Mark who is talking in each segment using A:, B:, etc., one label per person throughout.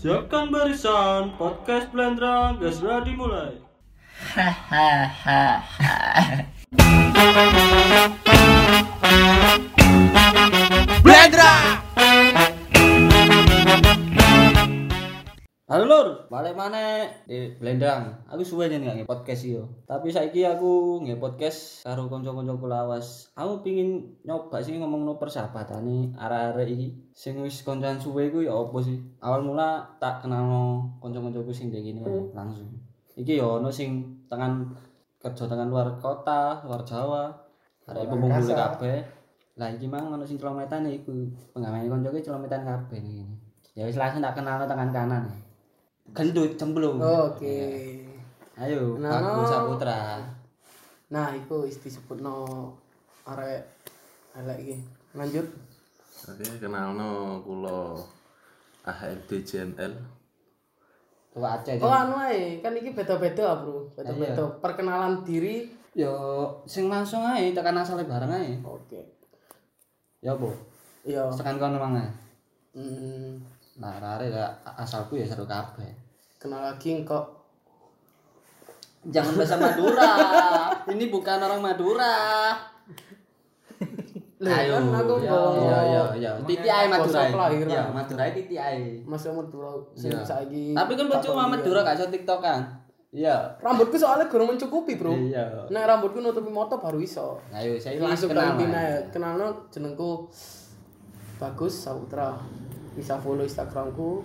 A: Siapkan barisan, podcast Blendrang, segera dimulai.
B: Blendra.
A: Halo lur, balik mana di Blendang. Aku suwe jen nggak podcast yo. Tapi saiki aku nggak podcast karo konco-konco lawas. Aku pingin nyoba sih ngomong no persahabatan nih arah-arah ini. Sing wis koncoan suwe ku ya opo sih. Awal mula tak kenal no konco-koncoku sing kayak gini wae, langsung. Iki yo ono sing tangan kerja tangan luar kota, luar Jawa. Ada ibu bumbu kabeh. Lah iki mang ono sing celometan ya iku. Penggawene koncoku celometan kabeh nih. Ya wis langsung tak kenal no tangan kanan. gendut cemplung
B: Oke.
A: ayo
B: Oh. Nah,
A: Bagus
B: no.
A: Saputra
B: Nah, iku wis disebutno arek elek iki. Lanjut.
C: Oke, kenalno kula AHMD JNL.
A: tua Aceh
B: Oh, anu ae, kan iki beda-beda, Bro. Beda-beda. Perkenalan diri.
A: yo sing langsung ae tekan asale bareng ae
B: Oke.
A: ya bu
B: Iya.
A: tekan kono mangan
B: Hmm,
A: nah rare lah asalku ya seru kabeh
B: kenal lagi engkok.
A: jangan bahasa Madura ini bukan orang Madura
B: Lah,
A: ayo
B: kan aku
A: ya
B: ngomong-
A: ya ya, ya titi ae Madura
B: Bangsa kelahiran.
A: ya Madura ae titi ae
B: Masih Madura sing
A: Iya.
B: saiki.
A: tapi kan percuma Madura gak iso TikTok kan iya
B: Rambutku soalnya kurang mencukupi, Bro.
A: iya
B: Nah, rambutku nutupi moto baru iso.
A: ayo saya
B: langsung
A: kenal
B: kenal
A: ae.
B: ya. Kenalno jenengku Bagus Sautra. Bisa follow Instagramku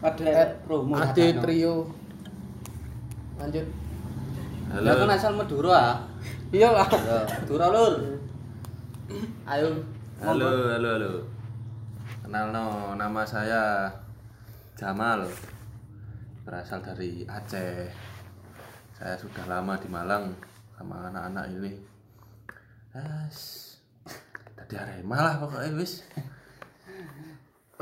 B: Eh,
A: Ada rumo
B: Ade Trio. Lanjut.
A: Ya kan
C: Halo,
A: asal Madura ah.
B: Iyalah.
A: Ya, Madura lur. Eh. Ayo.
C: halo, halo, halo. Kenalno, nama saya Jamal. Berasal dari Aceh. Saya sudah lama di Malang sama anak-anak ini. As. Tadi Arema lah pokoknya wis.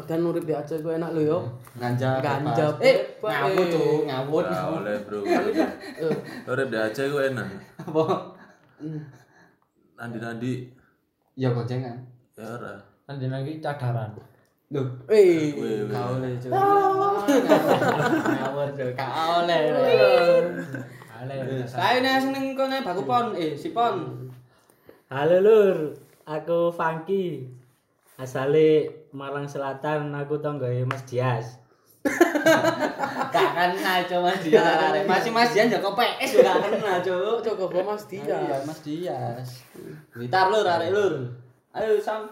B: Dan urip di Aceh gue enak lo yo.
A: Ganja.
B: Ganja,
A: bebas. Eh,
B: bebas.
A: ngawut tuh, ngawut.
C: Ora Ya oleh, Bro. Urip di Aceh ku enak.
A: Apa?
C: Nandi-nandi
A: Ya goncengan.
C: ya ora.
D: nanti lagi cadaran
A: Loh,
B: Eh,
A: gak oleh cuy. Ah. Ngawur cuy, gak oleh. lur.
D: halo
A: Kae nek seneng kene baku pon, eh si pon.
D: halo lur aku Funky asale Malang Selatan aku tonggoe Mas Dias
A: Gak kenal cuy Mas Dian. Masih Mas Dian jago PS juga gak kenal cuy.
B: cukup gue Mas
A: Iya,
B: Dia.
A: Mas Dias. Gitar lur, arek lur. Ayo Sam.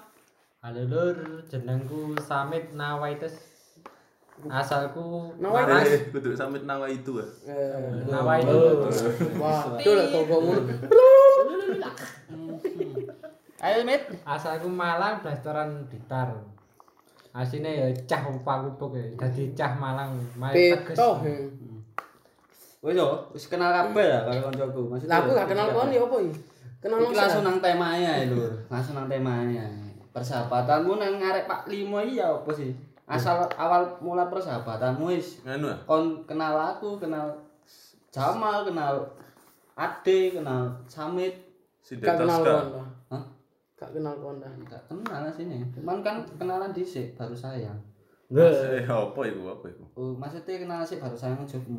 D: halo lur jenengku Samit Nawaites asalku
B: Nawaites.
C: Eh, Kudu samit nawa itu ah.
B: Eh,
D: Nawaites
B: Wah, itu lah toko ngono.
A: Ayo Mit.
D: asalku Malang blasteran gitar asine ya cah umpak upuk ya dadi cah Malang main teges
B: Peto.
A: Wis yo, wis kenal kabeh lah karo kancaku. Maksudnya
B: Lah aku gak kenal kon ya opo iki? Kenal
A: Iki
B: langsung.
A: langsung nang temanya ya, Lur. Langsung nang temanya. Persahabatanmu nang arek Pak Limo iki ya apa sih? Asal awal mula persahabatanmu wis
C: Nganu ah.
A: kon kenal aku, kenal Jamal, kenal Ade, kenal Samit.
C: Si
B: Gak kenal
C: Detoska.
B: kon. dah.
A: Hah?
B: Gak kenal kon dah.
A: Enggak kenal sini. Cuman kan kenalan dhisik baru sayang.
C: Eh, apa itu? Apa itu?
A: Oh, maksudnya kenal sih baru sayang jokmu.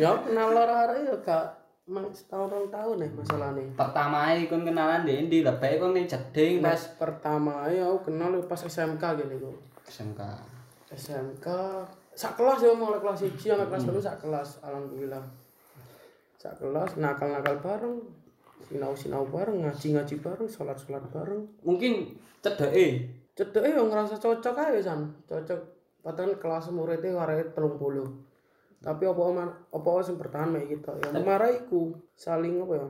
B: Ya kenal lara arek ya gak mang setahun rong tahun nih masalahnya.
A: Pertama ae kon kenalan di endi? Lah bae kon ning jeding
B: Pas
A: pas
B: pertama ya aku kenal ya pas SMK gini kok.
A: SMK.
B: SMK sak kelas ya mau kelas 1 sampai kelas telu sak kelas alhamdulillah sak kelas nakal nakal bareng sinau sinau bareng ngaji ngaji bareng sholat sholat bareng
A: mungkin cedeke
B: cedek eh ngerasa cocok aja san cocok padahal kelas muridnya warnanya telung puluh tapi apa oman apa sing bertahan kayak gitu ya marah iku saling apa ya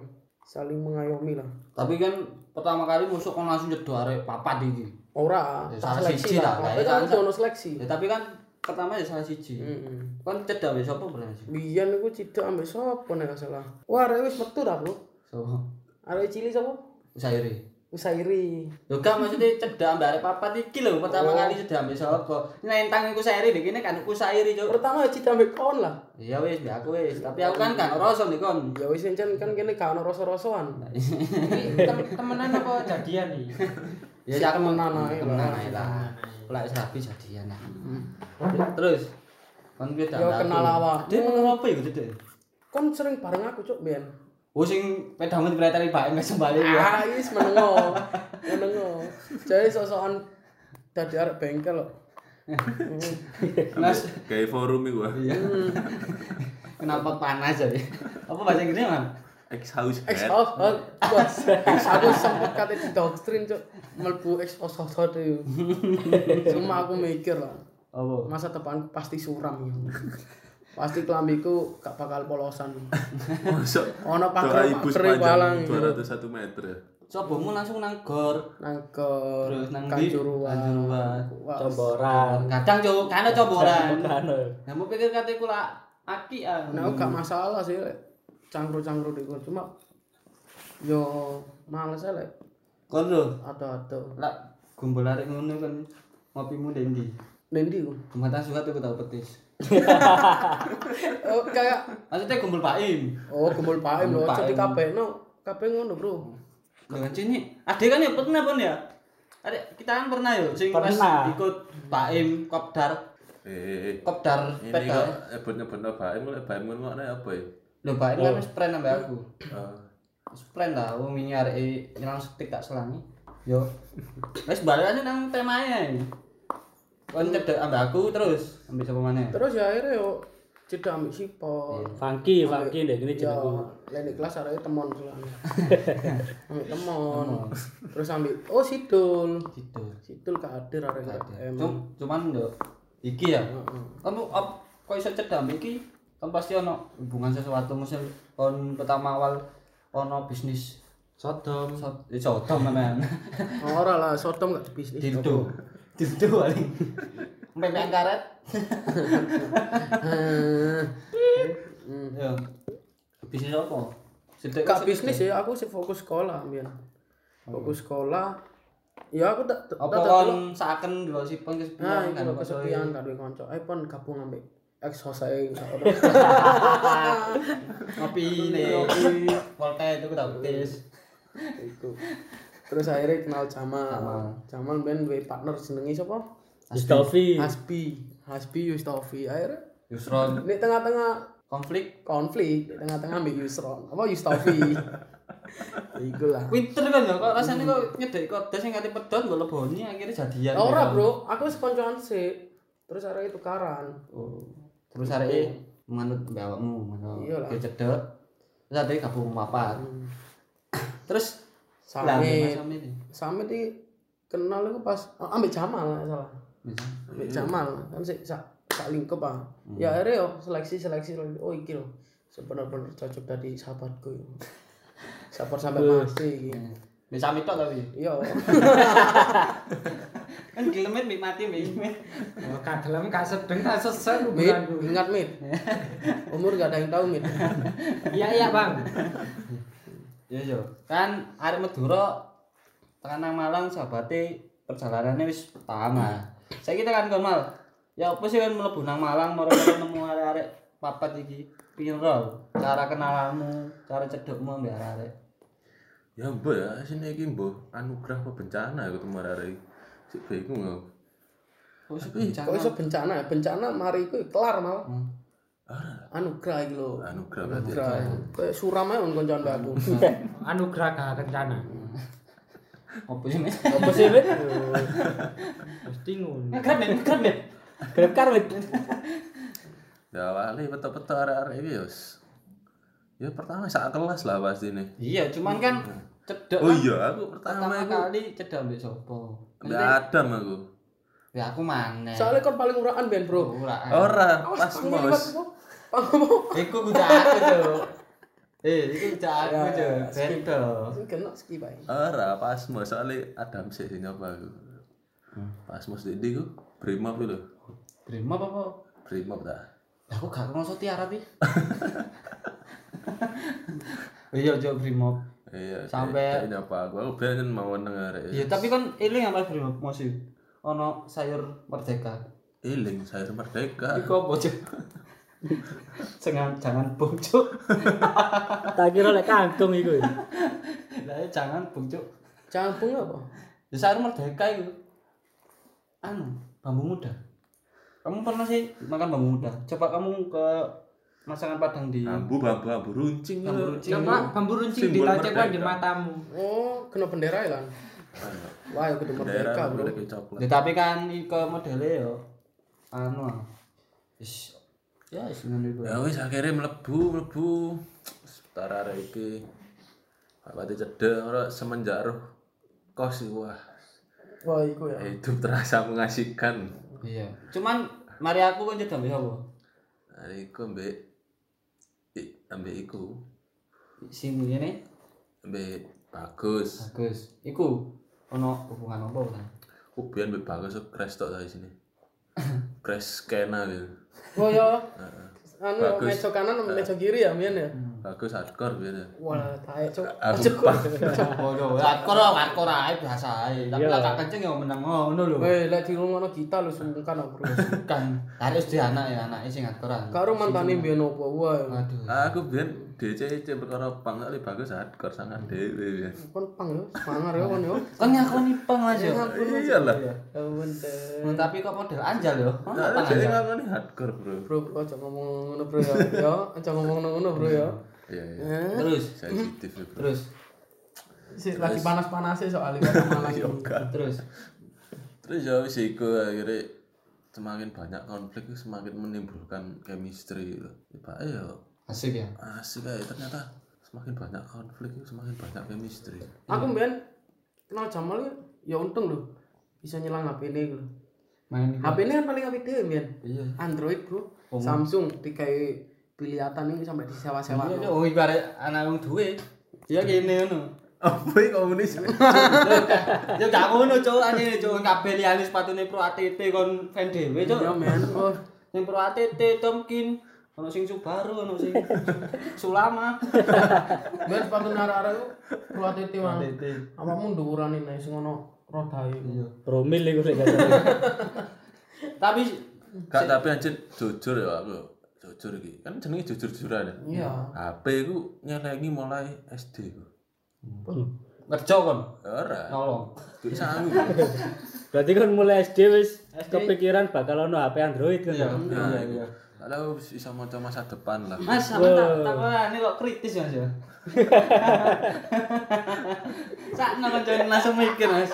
B: saling mengayomi lah
A: tapi kan pertama kali musuh kon langsung jeduk arek papat iki
B: ora
A: Ya,
B: tak
A: salah
B: seleksi
A: siji
B: lah
A: lah,
B: tapi
A: kayak
B: kan
A: salah-
B: ono seleksi
A: ya tapi kan pertama ya salah siji
B: Heeh.
A: kon cedak wis sapa bener sih
B: Biyen iku cedek ambek sapa nek gak salah. Wah, arek wis metu dah, Bro.
A: so
B: Arek cilik sapa?
A: usairi
B: Usairi.
A: Lho kan maksudnya cedak ambek arek papat iki lho pertama kali
B: Oh.
A: cedak ambek sapa nentang iku sairi iki kene kan iku sairi cuk
B: Pertama ya cedek ambek kon lah.
A: iya wis mbak aku wis tapi aku kan kan ora iso kon
B: Ya wis encen kan kene gak ono rasa-rasoan.
D: Ini tem- temenan apa jadian nih
A: Ya
B: Si
A: ya aku
B: temenan ae
A: temenan
B: lah.
A: ae lah. Lah wis rapi jadian lah.
B: Hmm.
A: Terus kon kuwi dak
B: Yo,
A: laku.
B: kenal awak.
A: Dek ngono apa iku Dek?
B: Kon sering bareng aku cuk ben.
A: Oh sing pedamu dipreteli bae mes bali ya.
B: Ah, wis menengo. Menengo. Jadi sosokan dadi arek bengkel kok.
A: Mas
C: Kayak forum iku. ah.
A: iya. Kenapa Hmm. panas jadi? Apa bahasa Inggrisnya, Man?
C: Ex house
B: Ex
C: head.
B: house house. Bos, aku sempet kate di doktrin cuk mlebu ex house house house itu. Cuma aku mikir lah,
A: Apa?
B: masa depan pasti suram ya. Pasti kelambiku gak bakal polosan.
C: Masuk.
B: Ono
C: Doa
B: pager
C: ibu
B: pager
C: sepanjang
B: walang
C: 201 meter. ya.
A: Cobamu langsung nang gor.
B: nang ke
A: Terus nang ndi?
B: Kanjuruan.
A: Kanjuruan.
B: Wah,
D: Comboran.
A: Kadang yo kan coboran.
D: Ano.
A: Kamu pikir kate kula aki ah.
B: Nah, gak masalah sih, lek. cangkru-cangkru di gua. Cuma, yo males aja, lek.
A: Kon lho,
B: Ada-ada.
A: lak gombol arek ngono kan ngopimu ndek ndi?
B: Nendi gua.
A: Jumatan suka tuh tahu petis.
B: Oh, kayak,
A: Maksudnya gombol paim.
B: oh gembul paem loh,
A: Gembul
B: jadi
A: paem.
B: kabeh no. Kabeh ngono bro.
A: Dengan sini, adek kan ya pernah pun ya. Adek kita kan pernah yo sing pas
D: Pernah.
A: ikut Paim Kopdar,
C: Eh, eh, eh.
A: Kopdar
C: Ini kok
A: Peda.
B: eh.
C: nyebut-nyebut bae mulai bae ngono apa ya?
A: Lho Baim kan wis pren ambek aku.
C: Eh,
A: Wis pren lah wong wingi arek nyelang setik tak selangi. Yo. Wis balik aja nang temae ae. Kon cedek ambek aku terus ambek sapa maneh.
B: Terus ya akhirnya yo cedak ambek sipo.
D: Funky, funky deh gini
B: Ya,
D: jenengku.
B: lek di kelas arek temon soalnya. Ambek temon. Terus ambek oh sidul.
A: Gitu.
B: Sidul gak hadir arek em.
A: Cum- Cuman yo iki ya. Kamu op, kok iso cedam iki? Kamu pasti ono hubungan sesuatu musim kon pertama awal ono bisnis
D: Sodom.
A: Sot- eh, Sodom teman.
B: Ora lah sodom gak dibisnis.
A: Dildo. Dildo paling. Mepek karet. Yo. Ya. Bisnis apa? Sedek
B: Kak bisnis ya, aku sih fokus sekolah, Mian. Fokus sekolah. Ya aku tak tak
A: apa
B: tak-
A: kon saken dua sipon
B: Nah, itu
A: kesepian kan
B: lho,
A: Pak Soe.
B: kesepian karo kanca. Eh pon gabung ambek ex hosai.
A: Ngopi nih. Volta itu kudu tes.
B: Iku. Terus akhirnya kenal Jamal. Jamal ben duwe partner jenenge sapa?
D: Mustafi.
B: Hasbi. Hasbi Yustofi. Akhirnya
A: Yusron
B: di tengah-tengah
A: konflik.
B: konflik, di tengah-tengah ambek Yusron. Apa Yustofi? Iku lah.
A: Pinter kan ya kok rasanya kok nyedek kode sing ngati pedot mbok leboni akhirnya jadian.
B: Ora, Bro. Aku sekoncoan sih. Terus akhirnya tukaran.
A: Oh. Terus areke manut mbak awakmu, manut.
B: Iya lah.
A: Dia cedek. Terus areke gabung papat.
B: Hmm.
A: Terus lah, Mas
B: Samit.
A: Samit.
B: Samit iki kenal aku pas eh, ambek Jamal nggak salah.
A: Bisa.
B: Ambek Jamal kan sik sak sak lingkup ah. Ya akhirnya yo seleksi seleksi seleksi. oh iki loh. Sebenar-benar cocok dari sahabatku. yo. Sahabat sampai mati iki.
A: Mbak Samit tok tapi.
B: Iya.
A: Kan gelemet mbak mati mbak Imet.
D: Oh, kagelem gak sedeng tak sesek
B: Mit,
D: hubunganku.
B: ingat Mit. Umur gak ada yang tahu Mit.
D: Iya iya, Bang.
A: Iya yo. Kan arek Madura tekan nang Malang sahabate perjalanannya wis paham ah. Saiki tekan kon Mal. Ya opo sih kan mlebu nang Malang moro-moro nemu arek-arek papat iki. Piro cara kenalanmu, cara cedokmu mbak arek.
C: Ya mbok ya, sini iki mbok anugerah apa bencana aku ketemu arek iki. Sik bae iku ngono.
A: Wis
B: Hmm, Kok iso bencana? ya? Bencana mari iku kelar mal.
C: Ora
B: Anugerah iki lho.
C: anugerah berarti. ya.
B: Anugerah. Kayak suram ae koncoan mbakku.
D: Anugerah gak kencana.
A: opo sih Mas?
D: Apa sih, Wit? Mesti ngono.
A: Grab men, grab men.
D: Grab car, Wit.
C: Ya awalnya peto-peto arek-arek iki ya. wis. Ya pertama sak kelas lah pasti nih.
A: Iya, cuman kan cedek
C: Oh
A: kan
C: iya, aku pertama
A: pertama
C: aku
A: kali cedek mbak sopo.
C: Mbak Adam aku.
A: Ya aku maneh.
B: Soalnya kon paling uraan ben, Bro.
A: Ora.
C: Ora,
B: Awas,
C: pas
B: panggil
C: mos.
B: liwat, Bro. Panggil, Bro.
A: Iku kudu aku tuh. Eh, iku kudu aku
B: Ya,
A: tuh.
B: skip.
A: Beda.
B: Sing kena ski bae.
C: Ora, pas mos soalnya Adam sih sing nyoba aku. Pas mos di ndi ku Brimob lho.
A: Brimo apa apa?
C: Brimob ta.
A: Lah, Aku gak ngerasa tiara pi. Iya, jauh Brimo.
C: Iya, dia-
A: Sampai-
C: dia nyoba aku. Aku pengen mau nang arek.
A: Ya, tapi kan eling apa Brimo masih. Ono sayur merdeka.
C: Iling sayur merdeka.
A: Iku apa Cuk? Jangan jangan bung Cuk.
D: Tak kira lek kangkung iku.
A: Lah jangan bung Cuk.
B: Jangan bunga apa?
A: Desa Arum Merdeka itu. Anu, bambu muda. Kamu pernah sih makan bambu muda? Coba kamu ke masakan Padang di
C: Bambu, bambu, bambu runcing
A: Bambu
C: gitu.
A: runcing.
D: Coba bambu runcing
C: Simbol
D: ditancapkan di
C: merdeka.
D: matamu.
B: Oh, kena bendera ya, Lan.
C: Ayo,
B: Wah, kudu
C: Bendera
B: merdeka, Bro.
C: merdeka coklat.
A: Ya, tapi kan i- ke modelnya yo anu. ah. Wis ya wis ngono iku.
C: Ya wis akhirnya mlebu, mlebu. Setara arek iki. Bapak cedek ora semenjak roh kos iki wah.
B: Wah, iku ya.
C: Hidup terasa mengasihkan.
A: Iya. Cuman mari aku kan jeda mbek apa?
C: Nah, iku mbek i- ambek iku,
A: Sing ngene
C: ambek bagus.
A: bagus. Iku ono hubungan apa ora?
C: Ubian ambek bagus crash tok dari sini. Crash skena gitu.
B: Oh, ya.
C: Heeh.
B: Anu, ya,
C: Bagus.
B: meja kanan sama meja kiri ya, Mian ya.
C: Bagus hardcore biar ya.
B: Wah, tae, Cok.
C: Aku
B: Cok.
A: Oh yo, hardcore hardcore ae biasa ae. Tapi lah gak kenceng yo meneng ngono lho.
B: Weh, lek di rumah kita lu sungkan aku.
A: Bukan harus di anak ya, anake sing hardcore.
B: Karo mantane mbiyen opo wae.
A: Aduh.
C: Ah, Aku biar DC perkara pang kali bagus hardcore sangat dewe biar.
B: Kon pang yo, mangar yo kon yo.
A: Kan ngakoni pang aja.
C: Iya lah.
B: Ampun,
A: Hmm, Tapi kok model anjal yo. Ono
C: Nah,
A: pang
C: jadi
A: anjal.
C: ngomong hardcore bro.
B: Bro, bro, aja ngomong ngono, Bro ya. Yo, aja ngomong ngono, Bro ya.
C: Iya iya.
B: Eh,
A: Terus
C: Sensitif ya, bro.
A: terus
B: sih, lagi panas-panasnya soalnya kan malah
C: Yo, gak.
A: terus.
C: Terus ya wis iku akhirnya semakin banyak konflik semakin menimbulkan chemistry gitu. Tiba ya
A: Asik ya.
C: asik aja ternyata semakin banyak konflik semakin banyak chemistry.
B: Aku mbiyen kenal Jamal ya, ya untung lho. Bisa nyelang HP ini lho.
A: Main
B: HP ini kan paling HP dhewe mbiyen.
A: Iya.
B: Android, Bro. Samsung dikai pilihan ini sampai disewa-sewa.
A: Iya, oh ibarat anak wong duwe. Iya kene ngono.
C: Apa yang komunis?
A: Ya gak ngono, Cuk. Ane Cuk kabeh liyane sepatune Pro ATT kon fan dhewe, Cuk.
B: Yo, men. Oh,
A: Sing Pro ATT Tomkin, ono sing Subaru, ono sing Sulama.
B: Ben sepatu arek-arek ku pro ATT wae.
A: ATT.
B: Awakmu ndurani nek sing ono rodae. Iya.
E: Promil iku sik kasar.
A: Tapi
C: Kak tapi anjir jujur ya aku. Jujur iki. Kan jenenge jujur-jujuran ya.
B: Iya.
C: HP ku nyelengi mulai SD ku.
A: kerja kon
C: Ora.
A: nolong.
C: Duit sangu. bro.
E: Berarti kan mulai SD wis kepikiran bakal ono HP Android kan. Hmm, ya?
C: Nah, iku. Kalau bisa mau masa depan lah.
A: Mas, aku tak takone kok kritis, Mas ya. Sakno kon jangan langsung mikir, Mas.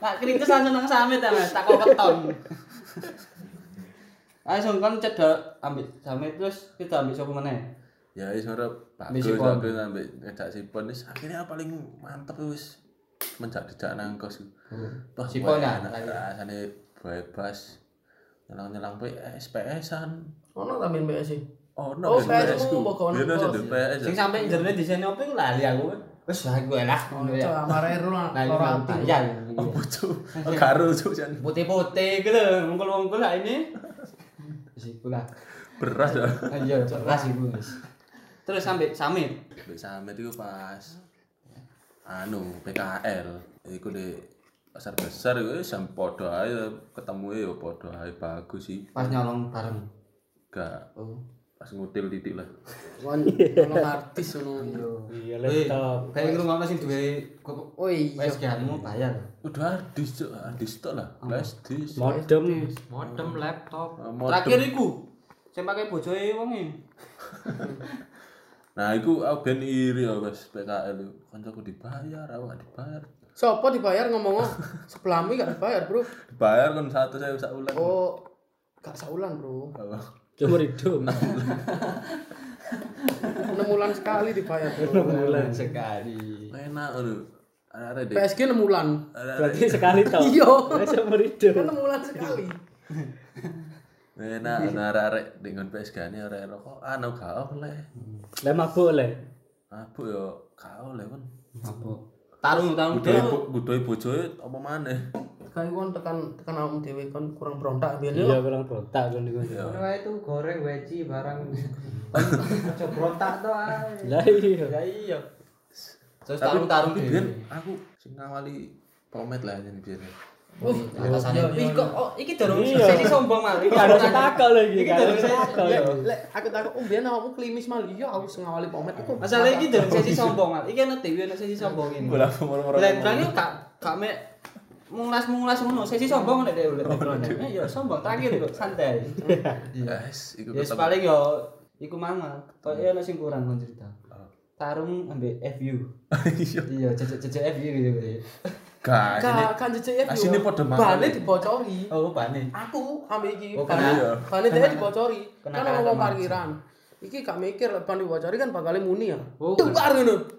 A: Tak kritis langsung nang samit ya, Mas. Tak kok keton. Langsung kon cedak ambil samit terus kita ambil sapa meneh.
C: ya wis ora
A: Ambil
C: bagus
A: sipon.
C: tapi ngambek ngejak sipon wis akhirnya paling mantep wis menjak dijak nang kos
E: Hmm.
C: Wah,
A: Sipon
C: wah,
A: ya,
C: enak
A: lagi.
C: rasane bebas nyelang-nyelang PS PS-an
B: Ono ta men PS.
C: oh
B: Oh,
C: no
B: PS -mu mbok kono
C: yo
B: kos.
C: no PS
A: Sing sampe jerone desain apa iku lali aku. Wis aku lah. ngono
B: Cok,
A: ya.
B: amare ru
A: Nah, iku
B: ora
A: nang
B: ati.
A: bayar.
C: bocok karo cuk jan
A: Putih-putih gitu lho, ngungkul-ngungkul lah ini. Wis iku lah.
C: beras ya
A: Ah, Iya, keras iku, Mas. Terus sampe samit.
C: Mbak Samet itu pas anu PKL iku di pasar besar itu jam podo ae ketemu e, yo podo ae bagus sih
A: Pas nyolong bareng.
C: gak
A: Oh.
C: pas ngutil titik lah
B: Kon ono artis ono.
A: Eh,
E: Iya, laptop.
A: Kayak ngrungokno sing duwe kok-
B: Oh iya.
A: PSG-mu bayar.
C: udah hardis cok hardis tok lah
A: Oh.
C: flash disk
E: Modem.
D: Modem laptop.
C: Eh, modem.
A: Terakhir iku sing pakai bojoe wong e.
C: nah iku aku ben iri ya pas PKL itu kancaku dibayar aku gak dibayar
B: Sopo dibayar ngomong sebelahmu gak dibayar, Bro.
C: dibayar kan satu saya bisa ulang
B: Oh, gak saulan, Bro.
E: Cumur hidup.
B: Enam bulan sekali dibayar, Bro.
A: Bulan sekali.
C: enak lu ada deh
B: PSG enam bulan.
E: Berarti sekali toh.
B: Iya.
E: Wis cumur hidup.
B: Enam bulan sekali.
C: enak ada arek dengan PSG ini arek rokok anu ah, gak oleh
E: Lah mabuk le.
C: aku yo gak oleh kan
A: Apa? Tarung tarung
C: budoi
A: dhewe.
C: bo- budoi bojoe apa maneh
B: Kayak kon tekan tekan awakmu dhewe kon kurang berontak biyen.
E: Iya, kurang botak kan iku.
D: Ngono wae itu goreng weci barang. Aja berontak to ae.
E: Lah iya.
A: Ya iya. Terus
C: tapi
A: tarung-tarung
C: tapi
A: dhewe.
C: biyen aku sing ngawali pomet lah jan biyen
A: Wih, atasane. Oh, Wih, kok oh, iki dorong
E: Iya.
A: sesi sombong mah.
E: Iki ada takal
A: Iki
E: lagi. Iki ada
A: durung
E: takal.
A: saya-
B: Lek aku takut, oh biyen awakmu klimis malah iya aku sing ngawali pomet iku.
A: Masalah iki dorong sesi sombong mah. Iki ana TV ana sesi sombong ini.
C: bola moro-moro
A: Blendrang yo gak gak mek munglas-munglas ngono. Sesi sombong nek dhewe teknologi. Ya sombong tangil kok santai.
C: Guys, iku
A: Ya yes,
C: ketemu.
A: paling yo iku mangal. Kaya ono sing kurang kon cerita. Tarung ambek FU. Iya, jejek-jejek FU gitu.
C: Guys, ini
B: Kan kan jejak ya.
C: Asine padha mangan.
B: Bane dibocori.
A: Oh, bane.
B: Aku ambek iki.
A: Oh,
B: bane-
C: kena-
B: Bane dia dibocori. Kan
A: Kena karet
B: ngomong
A: sama
B: parkiran. Iki gak mikir lek ban dibocori kan bakal muni ya.
D: Oh,
B: Tukar ngono.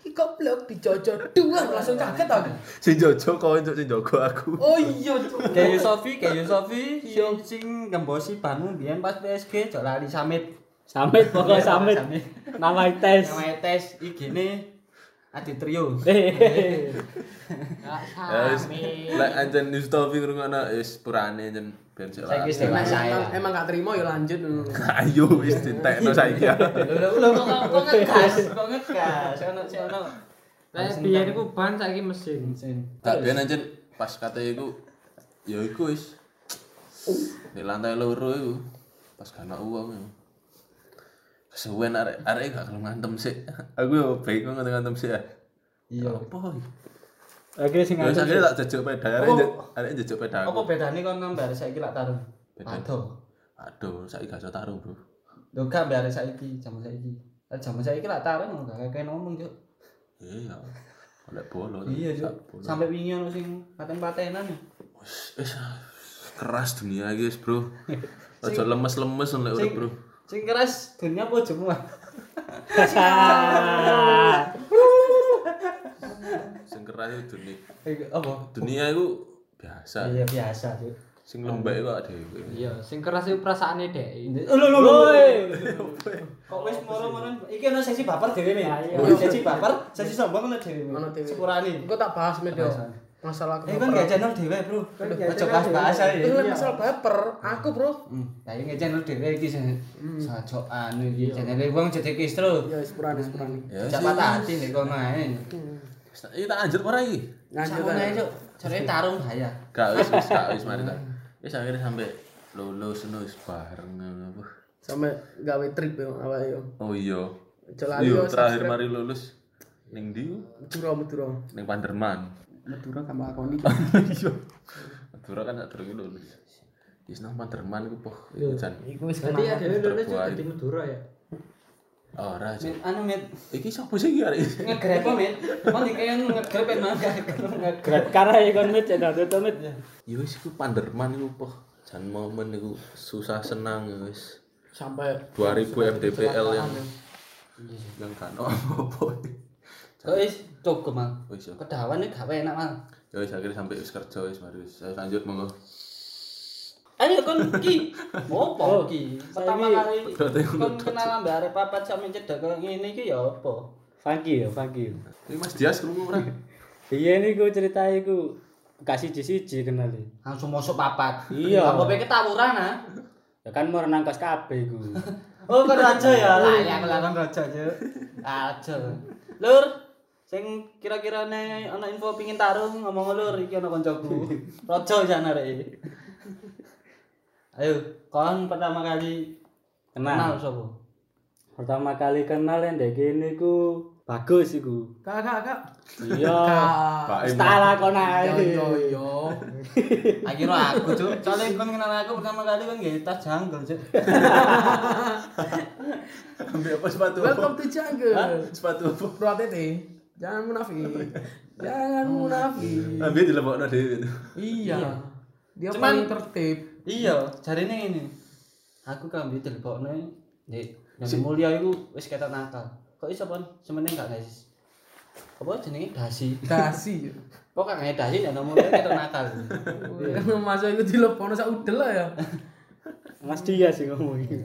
B: Iki goblok dijojor dua langsung kaget aku.
C: sing jojo kok entuk sing jaga aku.
B: Oh iya. Cuk.
A: Kayu Sofi, kayu Sofi, sing sing ngembosi banmu biyen pas PSG jok lali summit.
E: Samit pokoknya samit.
A: Samit.
E: Nama tes.
A: Namanya tes IG-ne Aditrio.
E: Eh. Hehehe.
D: Eh,
C: Ya, wis. Lek anjen Mustafi ngrungokno wis purane anjen ben sik
A: Saiki
C: lah.
A: sing
B: Emang- Emang
A: saya.
B: emang gak terima ya lanjut.
C: Ayo wis ditekno saiki.
A: Lho lho kok kok ngegas, kok ngegas. Ono sik ono.
D: Kayak biyen iku ban saiki mesin.
C: Tapi anjen pas kate iku ya iku wis. Di lantai loro iku pas kana uang iku. Kesuwen arek arek gak kelem ngantem sik. Aku yo baik banget ngantem sik. ya.
A: Iya.
C: Apa?
E: Akhirnya sing
C: Ya
E: ngantuk.
C: sakjane tak jejok peda arek nje- arek jejok peda aku.
A: Apa bedane kon ngambar saiki lak tarung?
C: Bedane.
A: Aduh.
C: Aduh, saiki gak iso tarung, Bro.
A: Lho gak mbak arek saiki, jaman saiki. Lah jaman saiki lak tarung gak kakek ngomong, Cuk.
C: Iya. Oleh bolo.
A: Iya, Cuk.
C: tak bolo.
A: Sampai wingi ono sing paten-patenan.
C: Wis, wis, keras dunia iki wis, Bro. Aja lemes-lemes oleh urip,
A: Sing-
C: Bro.
A: Sing keras dunia apa jemu?
C: Sing keras itu dunia.
A: Eh, Apa?
C: Dunia itu biasa.
A: Iya biasa, Cuk.
C: Sing lembek kok dhewe.
D: Iya, sing keras iku perasaane dhek.
A: Lho lho lho. Kok wis moro-moro iki ono sesi baper dhewe nih. Sesi baper, sesi sombong ono dhewe.
B: Ono dhewe.
A: Sepurane.
B: Engko tak bahas medio. Masalah
A: Eh kan gak
B: kebaperan.
A: channel dhewe, Bro. Ojo bahas-bahas ae.
B: Itu masalah baper. Aku, Bro.
A: Hmm, kayak nggak channel dhewe iki sing sajok anu iki channel wong jadi kistro.
B: Ya wis purane wis purane.
C: Ya,
A: Cak patah hati nek kono ae.
C: Wis, Iki tak anjur ora iki.
B: Lanjut
A: Sama ae, Cuk. Jare tarung bahaya.
C: Gak wis, wis, gak wis mari ta. Wis akhirnya sampe lulus ngono wis bareng ngono. Wah.
B: sampe gawe trip yo awake yo.
C: Oh iya.
B: Celali
C: Iya,
B: yo
C: terakhir mari lulus ning ndi?
B: Madura Madura.
C: Ning Panderman.
B: Madura kamu lakoni.
C: Iya. Madura kan tak durung lulus. Wis nang Panderman iku poh iku jan.
B: Iku wis
D: Berarti ya dhewe lulus
C: Terbuai.
D: di Madura ya.
C: Ora. Cuk.
A: Mit, anu mit
C: Iki sapa sih iki arek?
A: ngegrep apa, mit. Kon iki kan ngegrep en mangga ngegrep.
E: Gerak karena ya kon mit ya nanti tuh mit.
C: Ya wis iku Panderman iku poh jan momen iku susah senang ya wis.
B: sampai
C: 2000 MDPL yang yang kan apa-apa.
A: Kok wis cukup, Mang.
C: Wis ya.
A: Kedawan iki gawe enak, Mang.
C: Ya wis akhirnya sampai wis kerja wis mari wis. Ayo lanjut monggo.
A: Ayo kon ki. Opo ki? Pertama kali
C: Berarti
A: kon kenal ambek arep papat sampe cedhak koyo ngene iki ya apa?
E: Funky ya, funky.
C: Ini Mas Dias krungu ora?
E: Iya ini ku cerita iku kasih siji siji kenal ya.
A: Langsung mosok papat.
E: Iya.
A: Apa pe ketawuran ah?
E: Ya kan mau renang kas kabeh iku.
A: Oh, kon raja ya. Lah, ya aku lakon raja, Cuk. Raja. Lur, sing kira-kira ne ana info pingin tarung ngomong lur iki ana kancaku. Raja jane arek. iki. Ayo, kon pertama kali kenal
E: Kenal.
A: sapa?
E: Pertama kali kenal yang dek ini ku bagus iku.
B: kakak kakak.
E: Iya.
C: Pak Im.
E: Setara kon ae.
B: Yo yo yo.
A: Akhirnya aku, Cuk. Soale kon kenal aku pertama kali kon nggih tas jungle, Cuk.
C: Ambil apa sepatu? apa?
B: Welcome to jungle.
C: Sepatu apa?
B: Bro ATT. Jangan munafik. Jangan munafik.
C: Ambil di lebokno dhewe itu.
B: Iya. Dia
A: Cuman-
B: paling tertib.
A: Iya, jarine ngene. Aku kambi dilebokne Dik, yang mulia iku wis ketok nakal. Kok iso pon semene gak guys? Apa jenenge dasi?
B: Dasi.
A: Kok gak ngene dasi nek nomor mulia ketok nakal.
B: Masa iku dilepono sak udel lah ya.
E: Mas dia sih ngomong iku.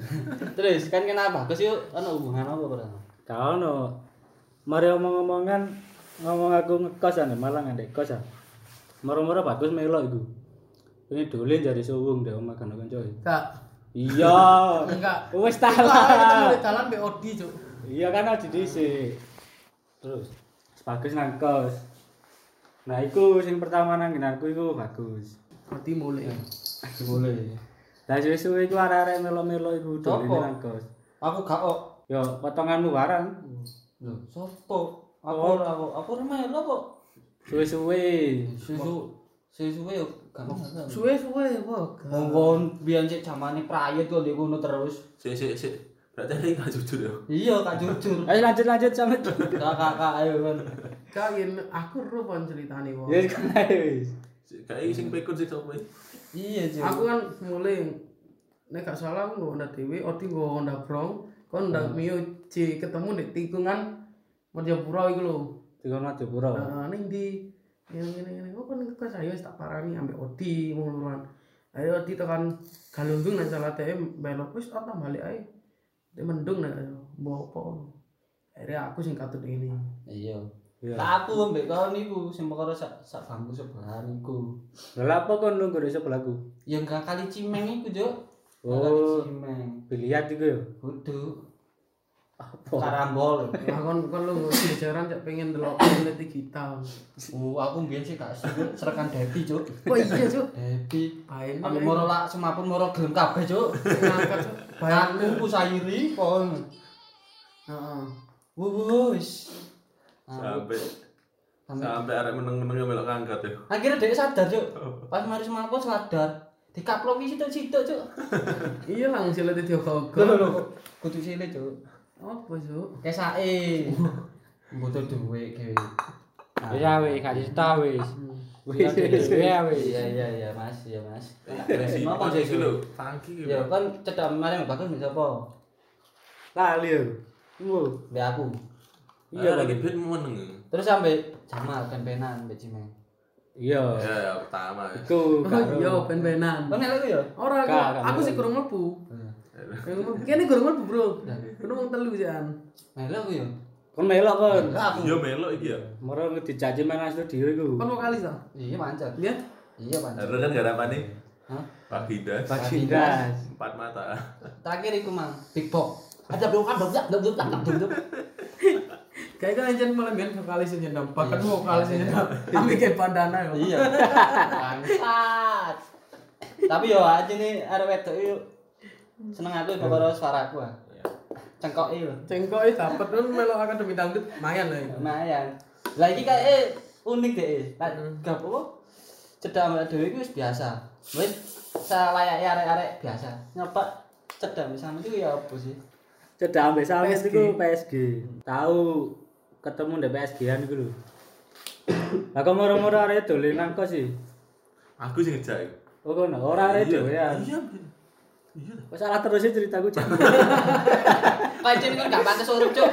A: Terus kan kenapa? Kus yuk ana hubungan apa pertama?
E: Kau no. Mari omong-omongan ngomong aku ngekos ane malang ane kos ah. Moro-moro bagus melo iku. Ini dolen jari suwung deh omah kan kanca.
B: Kak.
E: Iya.
B: Enggak.
E: Wis
B: Kita
E: talah.
B: mulai dalan BOD, Cuk.
E: Iya kan aja dhisik. Terus bagus nang kos. Nah, iku sing pertama nang ginanku iku bagus.
B: Berarti mulai.
A: Boleh.
E: Lah suwe-suwe iku arek-arek melo-melo iku dolen
A: Apa?
E: nang kos.
A: Aku gak kok.
E: Yo potonganmu barang.
A: Oh. Lho, sapa? Aku ora kok. Aku ora melu kok.
E: Suwe-suwe.
A: Susu susu yo gak masalah.
D: Suwe-suwe kok.
A: Wong biyen cek zamane prayit kok ndek ngono terus.
C: Sik sik sik. Berarti ini gak jujur ya.
A: Iya, gak jujur.
E: Ayo lanjut lanjut sampe.
A: Kakak-kakak ayo kan.
B: Kain aku ro pon ceritane wong.
E: Ya kan ayo wis.
C: Sik kayak sing pikun sik sapa.
A: Iya, Cuk.
B: Aku kan mulai nek gak salah aku nggo Honda dhewe, Odi nggo Honda Brong, kon ndang Mio J ketemu nek tikungan Merjapura iku lho.
E: Tiga Madura.
B: Nah, ning di yang ngene ngene kok kon kok saya wis tak parani ambek Odi wong luruan. Ayo Odi tekan Galunggung nek salah dhewe belok wis ora balik ae. Dia mendung nek mbok apa. Akhirnya aku sing katut ini.
A: Iya.
E: Iya.
A: Lah aku ambek kau niku sing perkara sak sak bangku sebelahan iku.
E: Lah apa kon nunggu desa belaku?
A: Ya gak kali cimeng iku, Cuk. Gak Kali
E: Oh,
A: cimeng.
E: biliat iku yo.
A: Kudu
E: Apa?
A: karambol.
B: Lah kon kon lu jajaran cek pengen delok peneliti kita.
A: Oh, aku mbiyen sih gak sering serekan Devi, Cuk.
B: Kok iya, Cuk?
A: Devi.
B: Bain
A: Ambek moro lak semapun moro gelem kabeh, Cuk.
B: ngangkat, Cuk. Bain.
A: Aku ku sayuri kon.
B: Heeh.
A: Wus.
C: Sampai
A: Sampai-
C: sampai arek meneng-menenge melok ngangkat ya.
A: Akhirnya dia sadar, Cuk. Pas mari semapun sadar. Dikaploki situ-situ, Cuk.
B: Iya lah ngisi leti
A: Lho,
B: diogo-ogo.
A: lho, lho. Kudu cilik, Cuk.
B: Apa, Cuk?
A: Kesake. Butuh duit dhewe.
E: Wis ya wis gak cerita wis. Wis wis wis.
A: Iya, iya, iya, Mas, iya, Mas.
C: Resi
A: Kenapa,
C: pon
A: Cuk?
C: iki lho, tangki
A: Ya
C: ya.
A: kan cedak maring bagus mbek sapa?
E: Lali yo. Ngono.
A: Mbek aku.
C: Iya lagi ben meneng. ya.
A: Terus sampe Jamal tempenan mbek Cimeng.
E: Iya.
C: Ya ya pertama ya.
E: Iku
B: Oh
E: karo.
B: iya, ben-benan.
A: Kok ngelak ku ya?
B: Ora aku,
E: Gak, gak
B: aku sih kurang mlebu. Kurang mlebu. Kene kurang mlebu, Bro. Kudu wong telu jan.
A: Ngelak ku ya?
E: Kon melok kon.
A: Ngelak aku.
C: Iya melok iki ya.
E: Moro dicaci main asli dhewe iku.
B: Kon vokalis ta?
A: Iya, pancet.
B: Iya.
A: Iya, pancet.
C: Harus kan garapane
A: Hah?
C: Baginda
E: Bagindas.
C: empat mata.
A: Terakhir iku mang Big Box. Ada blokan dong, dong, dong, dong, dong, dong.
B: Kayak kan jan malah ben vokalis jan nendang. Bahkan vokalis jan nendang. Ambil kayak ya. pandana yo.
A: Iya. Bangsat. Tapi yo aja nih arek wedok yo seneng aku perkara suaraku. ah. Cengkok yo.
B: Cengkok itu dapat kan melo akademi dangdut lumayan lah. itu.
A: Lumayan. Lah iki kae unik deh. Lah
B: Hmm.
A: gak apa cedak ambek dhewe iki wis biasa. Wis selayaknya arek-arek biasa. Nyoba cedak misalnya itu ya apa sih?
E: Cedak ambek Salmes
B: PSG.
E: iku PSG. Tahu ketemu ndek PSG-an iku lho. Lah kok moro-moro arek dolenan kok sih.
C: Aku sing ngejak iku.
E: Oh kono, ora arek dhewean.
C: Iya. Ben. Iya.
E: Kok salah terus sih ceritaku Cak?
A: Pancen kan gak pantes urip, Cuk.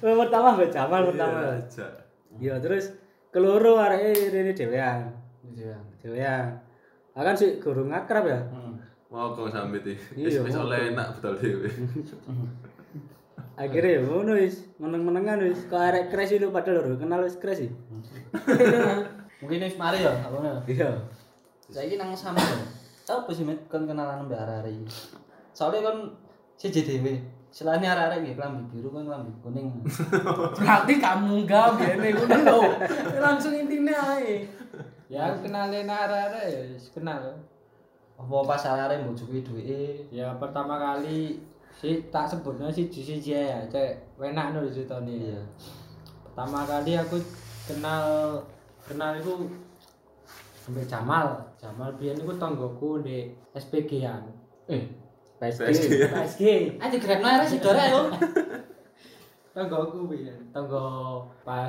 E: Eh, pertama mbek Jamal
C: Iya,
E: pertama.
C: ngejak.
E: Iya, terus keloro arek e, rene dhewean.
A: Iya.
E: Dhewean. Akan sih gurung akrab ya.
C: Hmm. Mau kok sampe iki. Wis
E: Iya,
C: wis
E: mau
C: oleh enak betul dhewe.
E: Akhirnya ya ngono wis, meneng-menengan wis. Kok arek crash itu padahal lho kenal wis crash sih.
A: Mungkin wis mari ya, apa ngono.
E: Iya.
A: Saiki nang sama ya. Tau apa sih Mit, kon kenalan mbak arek iki? Soalnya kon siji dhewe. Selain arek-arek iki klambi biru kan klambi kuning.
B: Berarti kamu gak Ya, biar nih lho. Langsung intinya ae.
D: Ya aku kenalin arek-arek ya wis kenal.
A: Apa pas arek mbojoki duweke
D: Ya pertama kali si tak sebutnya si siji ya, cek enak nulis ceritane.
A: Iya.
D: Pertama kali aku kenal kenal itu sampai Jamal. Jamal biyen iku tanggoku di SPG-an. Eh,
E: PSG.
D: PSG.
A: Aja grab arek sedorek yo.
D: Tanggoku biyen, tanggo pas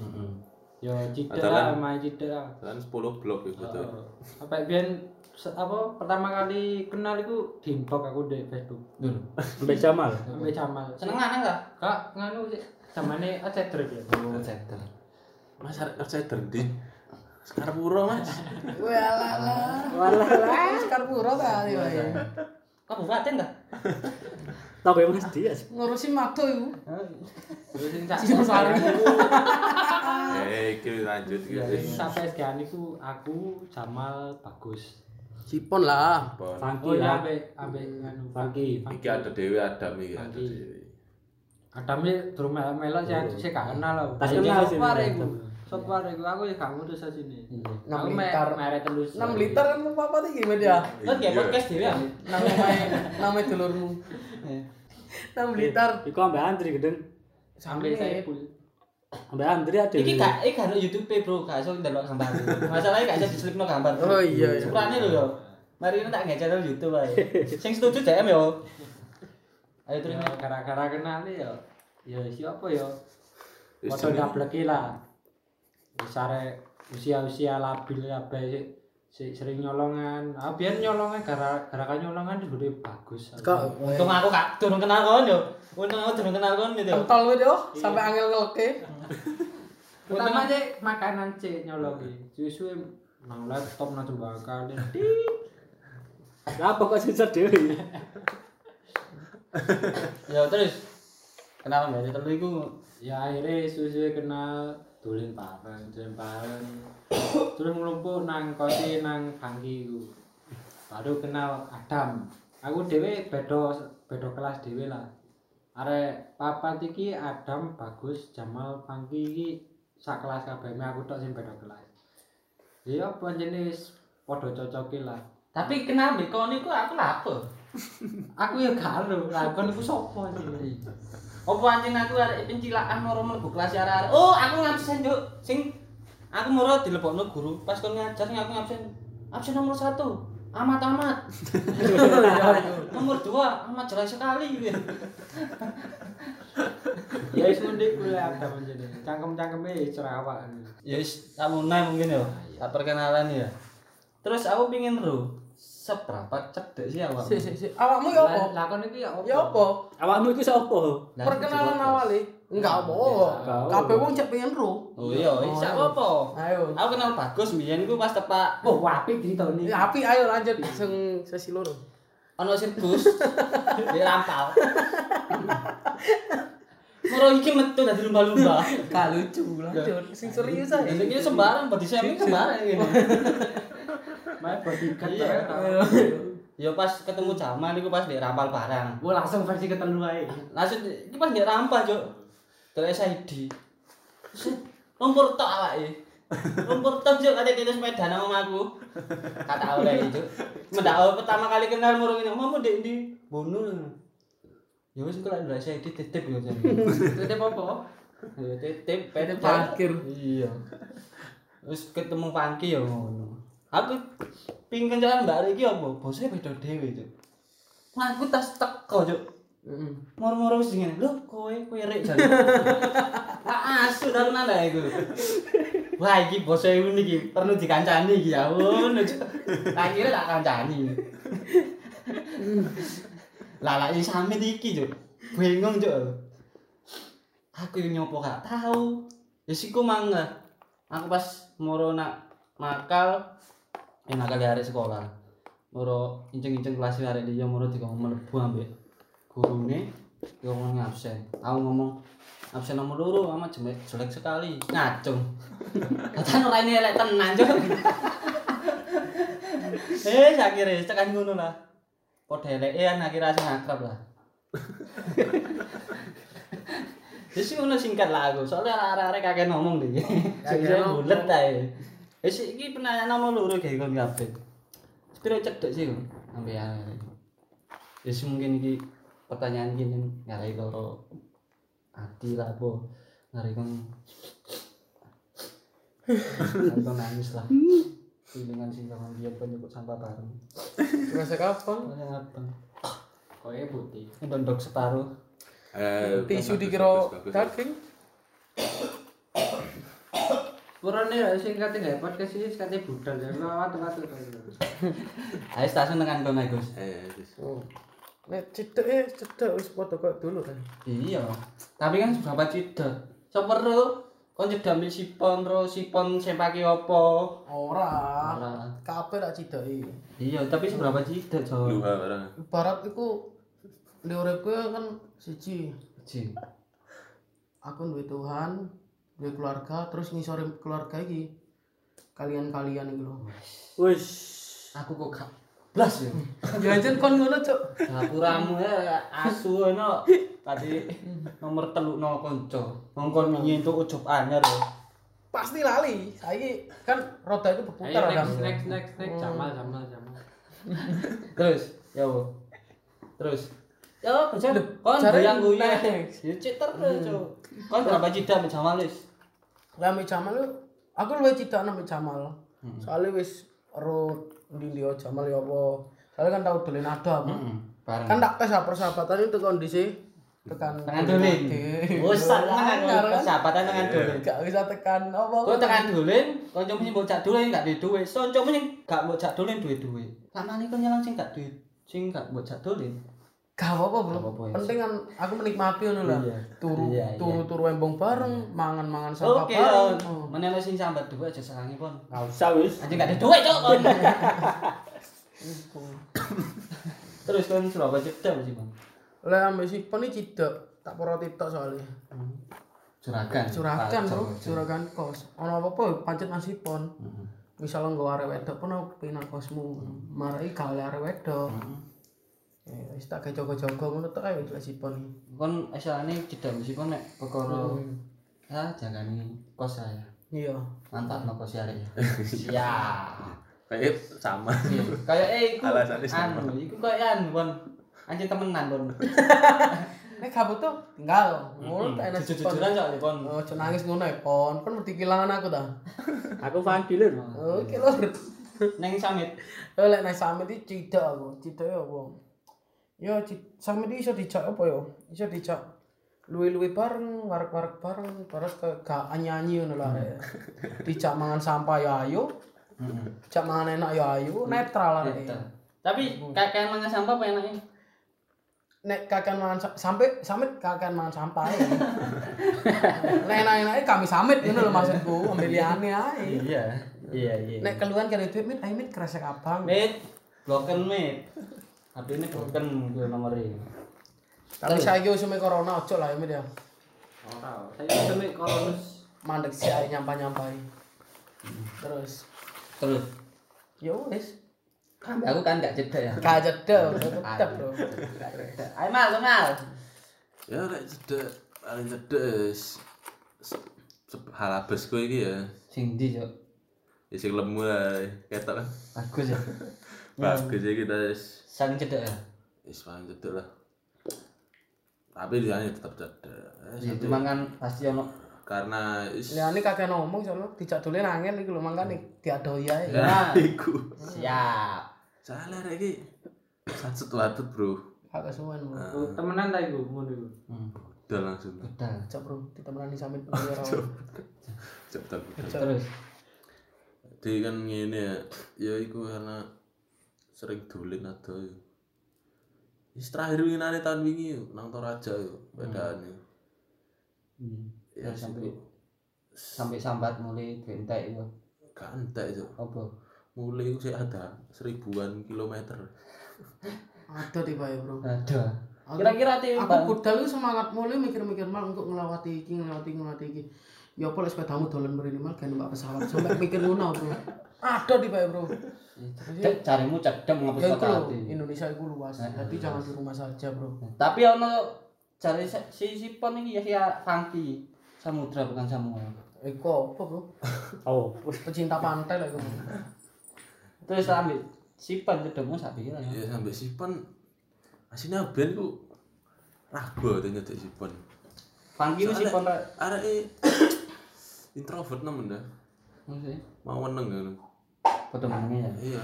A: Heeh.
B: Hmm.
D: Yo cedek
C: Padahal-
D: lah, main cedek lah.
C: Kan 10 blok iku betul.
D: Heeh. Sampai biyen se- apa pertama kali kenal iku di inbox aku di Facebook.
E: Mbek Jamal.
D: Sampai Jamal.
A: Seneng aneh lah.
D: Kak, nganu sih. Zamane Aceder ya.
E: Oh,
A: Center.
C: Mas arek outsider ndi? Sekarang pura, Mas.
B: Walah.
E: Walah lah.
B: Skarpuro ta iki. wae.
A: Kabupaten ta?
E: Tau ya Mas Dias.
B: Ngurusi Magdo iku.
D: Terus sing sak
B: Sing sari.
C: Eh, iki lanjut iki.
D: Sing sak PSG-an iku aku Jamal bagus.
B: Sipon lah.
C: Bon.
D: Oh
E: Fangki
D: ya
E: ya.
D: ape ape nganu. iya.
E: Fangki.
C: Iki ada Dewi Adam iki ada
D: Lagi.
C: Dewi.
D: Adame durung melok-melok sih aku sih gak kenal aku.
E: Tak kenal sih,
D: Sopo arek
E: Adam.
D: iku? Sopo arek iku? Aku ya gak ngurus sini.
B: Enam
D: Aku me-
B: liter.
D: merek telus.
B: 6 liter kan mau apa tuh gimana ya?
A: Kan dia podcast dhewe ya.
B: Namanya namanya telurmu. 6 liter.
E: Iku ambek antri gedeng.
D: Sampai saya pul.
E: Ambek Andri ada.
A: Iki gak iki gak ono YouTube e, bro, gak iso ndelok gambar. Masalahnya gak iso diselipno gambar.
B: Oh, iya, iya.
A: Sepurane lho yo. Mari kita tak nge channel YouTube ae. Sing setuju DM yo. Ayo terus.
D: Ya, gara-gara kenal ya ya siapa ya
C: Wis
D: foto
C: jeneng.
D: dableki lah wis arek usia-usia labil kabeh sik sik sering nyolongan ah biyen nyolongan gara gara nyolongan dulu bagus
B: Kok
A: Untung aku gak durung kenal kon yo. Untung aku durung kenal kon gitu.
B: kental kowe yo sampai angel ngelke.
D: utama sih makanan sih nyolongi susu nang laptop nang jembatan
E: Lah apa kok sensor dhewe?
A: Ya terus kenal mbak telu iku
D: ya akhirnya susu kenal dolen bareng dolen bareng terus ngelumpuk nang kosi nang bangki iku. baru kenal Adam aku dhewe beda beda kelas dhewe lah arek papat iki Adam bagus Jamal Pangki iki sak kelas kabeh me aku tok sing beda kelas ya apa jenis padha cocoki lah
A: tapi kenal mbek kon iku aku lapo.
D: aku ya gak ero lakon iku sapa sih
A: Apa anjen aku arek pencilakan ora mlebu kelas arek-arek. Oh, aku ngabsen juk. Sing aku moro dilebokno guru pas kon ngajar sing aku ngabsen. Absen nomor 1. Amat-amat. nomor 2, amat jelek sekali.
D: ya wis mending kuwi Adam jenenge cangkem-cangkeme cerawak
A: ya wis tak munai mungkin ya. Tak perkenalan ya. Terus aku pingin ro seberapa cedek sih awak.
B: Sik sik sik. Awakmu yo apa?
D: lakon iki ya apa?
B: Ya apa?
E: Awakmu iku sapa?
B: Perkenalan awale. Enggak apa.
E: Enggak.
B: Kabeh wong cek pengen ro.
A: Oh iya, wis sak apa?
B: Ayo.
A: Aku kenal bagus mbiyen ku pas tepak
D: Oh, apik ditoni.
B: Ya, api ayo lanjut sing sesi loro.
A: ana sirkus di rampal Moro iki metu dari lumba-lumba.
B: Gak lucu lanjut. Sing serius
A: Jadi
B: ae.
A: ini sembarang, body shaming sembarang ini.
D: Main bodyguard
A: Iya.
D: ternyata.
A: Ya pas ketemu jaman iku pas di rampal barang.
D: Gua langsung versi ketelu ae.
A: Langsung di- iki pas di rampal, Cuk. Dari SID. Set, Lumpur tok awake. Lumpur tok Cuk kate kita sepeda nang omahku. Kata oleh itu. Mendak awal pertama kali kenal murung ini, "Omamu ndek ndi?" Bono. Ya wis kok lek dari SID titip yo.
D: Tetep apa? Eh,
A: Ya titip pede
B: Parkir.
A: Iya. Terus ketemu Pangki ya ngono. Aku ping kencalan mbak Riki apa? Bosnya beda dhewe, Cuk. Nah, aku tas teko, Cuk.
B: Heeh.
A: Moro-moro wis ngene. Lho, kowe kowe rek jan. Tak asu ta nang lha iku. Wah, iki bosnya ini iki perlu dikancani iki ya. Ngono, Cuk. Tak kira tak kancani. Lah lah iki sampe iki, Cuk. Bingung, Cuk. aku yang nyopo gak tahu ya sih ku mangga aku pas moro nak makal eh nakal di hari sekolah moro inceng-inceng kelas hari dia moro tiga melebu ambek gurune dia ngomong absen aku ngomong absen nomor loro ama jelek jelek sekali ngacung kata orang ini elek tenan Cuk. eh akhirnya tekan ngono lah Podo elek-elekan akhirnya asing akrab lah Wis ngono singkat lah aku, soalnya arek-arek kakek ngomong deh. Jadi
B: ngomong.
A: bulet ae. Wis iki penanya nomor loro gawe kon kabeh. Sepiro cedek sih kok sampe arek. Wis mungkin iki pertanyaan iki ning ngarai loro ati lah apa ngarai kon ngarai kon nangis lah. Dengan sing sama dia kon nyebut sampah bareng.
B: Rasa kapan?
A: Soalnya apa?
D: Koe putih.
A: Ndondok separuh.
C: Eh,
B: Tisu
C: bagus,
B: dikira
C: bagus, bagus.
B: daging.
D: Kurane ya sing kate gawe podcast iki kate budal ya. Lawat tempat
A: Ayo stasiun tekan kono Gus.
C: Eh, wis.
B: Oh. Nek cedek eh cedek wis padha kok dulu kan.
A: Iya. Tapi kan berapa cedek? Sopo ro? Kon cedek ambil sipon ro, sipon sempake opo?
B: Ora.
A: Ora.
B: Kabeh tak cedeki.
A: Iya, tapi seberapa cedek, Jo?
C: Luha barang.
B: Ibarat iku di uripku kan siji
A: Jing.
B: aku duwe Tuhan, duwe keluarga, terus ngisore keluarga iki. Kalian-kalian iki lho.
E: Wis.
A: Aku kok gak blas ya.
B: Jajan kon ngono, Cuk.
A: Gapuramu ya asu ono. Tadi nomor telu no konco. Ngongkon wingi entuk ujub anyar yo.
B: Pasti lali. Saiki kan roda itu
D: Ayo
B: berputar kan.
D: next next next next jamal jamal jamal.
A: Terus, ya wo. Terus. Ya, bener. Kon
B: Jare
A: goyang goyang.
B: naik.
A: Ya cek terus, Cuk. Kon berapa cita sama Jamalis?
B: Lah Mbak Jamal lu, aku luwih cedhak nang Mbak Jamal. Soale wis ro ndi dia Jamal ya apa. Soale kan tau dolen ada. aku.
A: Bareng.
B: Kan tak tes lah persahabatan itu kondisi tekan
A: Tangan dolen. Wis seneng aku persahabatan tangan dolen.
B: Gak bisa tekan apa.
A: Kok tekan dolen, kancamu sing mbok jak dolen gak duwe duwe. Kancamu sing gak mbok jak dolen duwe duwe. Lamane kon nyelang sing gak duwe sing gak mbok jak dolen.
B: Gak apa-apa bro.
A: apa-apa, ya.
B: Penting kan aku menikmati ngono lah.
A: Iya.
B: Turu
A: Iya, iya.
B: turu turu embong bareng, mangan-mangan sapa
A: Oke, Ron.
B: bareng. Oh.
A: Menene sing sambat duwe aja sarangi pon.
E: Nggak usah wis.
A: Anjing gak ada duit cok kon. Terus kon Surabaya cedek sih, Bang.
B: Lah ambek si Poni cidak, tak poroti tok soalnya.
A: Juragan.
B: Juragan bro, juragan kos. Ono apa-apa pancet nang sipon. Misalnya nggo arek wedok pun aku pengen nang kosmu. Marai gak oleh arek wedok. Ya wis tak gawe jaga-jaga ngono tok ae lek sipon.
A: kon asalane cedek mesti kon nek perkara ah jangkane kos saya
B: Iya.
A: mantap no kos arek siap
C: Kayak sama.
A: kayak eh iku
C: Alasannya sama.
A: anu iku kayak anu kon anjing temenan kon
B: Nek kabut tuh tinggal. Ngono tak enak sipon.
A: jujur-jujuran cok kon
B: Oh, jangan nangis ngono ya, Pon. Pon mesti kehilangan aku ta. Oh,
E: Aku fan dealer.
B: Oke lho.
A: neng samit
B: Lho Eh, lek nang sampe iki cidak aku. Cidak ya apa? Ya cid- sampe iki iso dijak apa ya? Iso dijak luwe-luwe bareng, warak-warak bareng, terus ke gak nyanyi ngono
A: Hmm.
B: lah. Rek. Dijak mangan sampah ya ayo.
A: Hmm.
B: Dijak mangan enak ya ayo, netral lah. Rek.
A: tapi kakek mangan sampah apa enaknya
B: Nek kakan mangan sa- sampe sampe kakan mangan sampah ya. Nek enak-enake kami samit ngono lho maksudku, ambeliane ae.
A: iya iya iya
B: Nek keluhan karo duit mit, ayo mit kresek abang.
A: mit bloken mit HP ini bloken gue nomornya
B: Tapi saiki usume corona ojo lah ya mit ya.
D: Ora. Saya sampe koronus.
B: mandek sih ae nyampah-nyampahi. Terus
A: terus
B: ya wis,
A: aku kan gak cedek ya
B: gak jedel tetep bro.
A: ayo mal lu mal
C: Ya lek cedek paling cedek is se- se- halabes kowe iki ya.
A: sing di cok
C: Ya sing lemu lah ketok kan.
A: bagus ya
C: Bagus ya kita is
A: sang cedek ya
C: is paling cedek lah. Tapi dia tetap cedek. Eh,
A: Ya,
C: cedek.
A: cuma kan pasti ono
C: Karena is
B: Liane kagak ngomong soalnya dijak dole angel iki lho mangkane diadoi ae.
A: Nah.
C: iku.
A: siap
C: Salah rek iki. Satset watut, Bro.
B: Gak kesuwen bro.
D: Oh, Temenan ta iku ngono iku.
C: Udah langsung.
A: udah
B: Cok bro, ditemani samit dulu ya, Rawan.
C: Cepetan.
A: terus
C: Jadi kan ngene ya. Ya iku karena sering dolen ada ya. Is terakhir winane tahun wingi yo nang Toraja yo bedane.
A: Hmm.
C: Ya
A: Terus Hmm. sampai- sampai
C: sampe
A: sambat mulai bentek itu
C: gak entek yo.
A: apa
C: Mulai iku sik ada seribuan kilometer.
B: Aduh tiba ya bro.
A: ada
B: Aku-
A: kira-kira
B: Aku
A: timbang
B: budal itu semangat mulai mikir-mikir mal untuk ngelawati iki, ngelawati ngelawati iki. Ya apa lek sepedamu dolan mrene mal gak numpak pesawat sampe mikir ngono bro. Aduh tiba ya bro.
A: Cek, carimu cedem ngapus
B: Ya iku
A: kota
B: lho,
A: hati
B: Indonesia itu luas. Jadi jangan di rumah saja bro.
A: tapi ono cari se- si si pon ini ya ya Fangki Samudra bukan Samuel
B: Iku apa bro?
E: Oh,
B: pecinta pantai lah itu
A: terus ambil si pon cedemmu sak pira ya
C: Ya sampe sipon asine ben ku ragu ten nyedek sipon.
A: Fangki itu si pon ra-
C: arek introvert nemen dah.
A: Maksudnya,
C: Mau meneng ngono.
A: foto manungnya ya
C: Iya.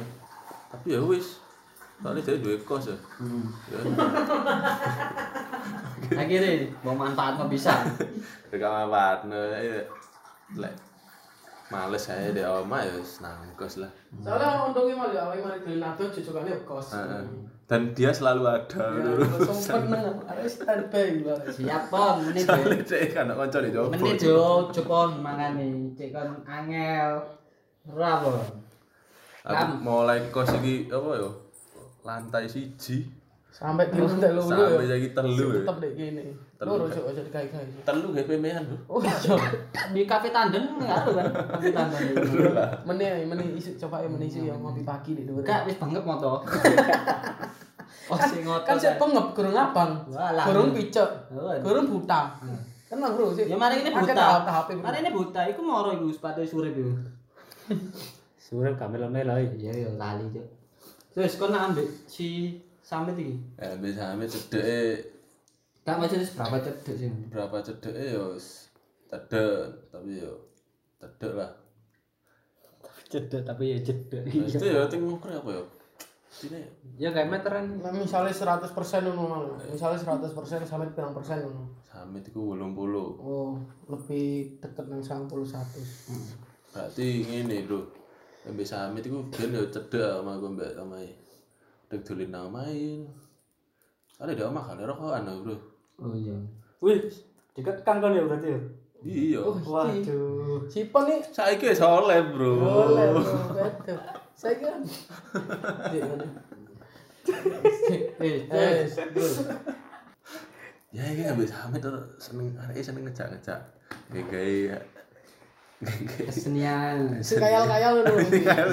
C: Tapi ya wis. Soalnya dia duwe kos ya. Ya.
A: akhirnya mau manfaat mau bisa
C: Dekat sama partner ya. Lek males saya di oma ya wis nang kos lah.
B: soalnya untungnya malah ya awalnya mari dari nato cucukannya kos
C: Heeh. Dan dia selalu ada.
B: sempet nang ada standby lah
A: siap pon ini
C: Soalnya dia kan kanca di Jawa.
A: Mene jo jepon mangane cek kon angel. Ora apa.
C: Aku mulai kos iki apa ya? Lantai siji
B: sampai di lantai lu dulu
C: sampai
B: ya
C: saiki telu.
B: tetep dek gini lu rujuk aja dikai kai
C: Telu GPM-an, Bro.
B: oh iya
A: Di kafe tandem ngaruh kan? Kafe tandem.
B: meni ae, meni isi coba ya meni isi ya ngopi pagi di dulu
A: Enggak wis banget moto. Oh sing ngotot.
B: kan saya pengep kurung abang
A: Walah.
B: kurung picek
A: Oh, aduh.
B: kurung buta kan nang bro sih
A: Ya mari ini
B: Pakai
A: buta.
B: tahap-tahap ini.
A: Mari ini buta iku moro iku sepatu surip iku.
E: surep kamera melo iki.
A: Iya yo lali cuk. Terus kon nak ambek si sampe iki.
C: ya bisa ame cedeke
A: Gak maksudnya seberapa cedek sih.
C: berapa cedeke ya wis cedek tapi yo cedek lah
E: Cedek tapi ya cedek.
C: Habis itu ya ting ngukur apa ya sini
D: Ya kayak meteran.
B: Nah, misalnya 100% ngono malah. Misalnya 100% sampai 9% ngono.
C: samit iku 80
B: Oh, lebih deket nang 90 100.
C: berarti ngene lho sampe samit iku ben yo cedek sama gue mbak sama dek dolin nang main ada di omah kali rokokan lho, bro
A: Oh iya.
E: Wih, dikekang kan ya berarti ya.
C: iya
B: Oh.
E: Waduh.
B: Sipon nih.
C: saiki soleh bro
B: Boleh. Saya kira.
A: Eh,
B: Eh,
A: cek.
C: ya iki habis samit tuh seneng arek seneng ngejak-ngejak kayak kayak
A: kesenian.
B: si kayal-kayal ngono.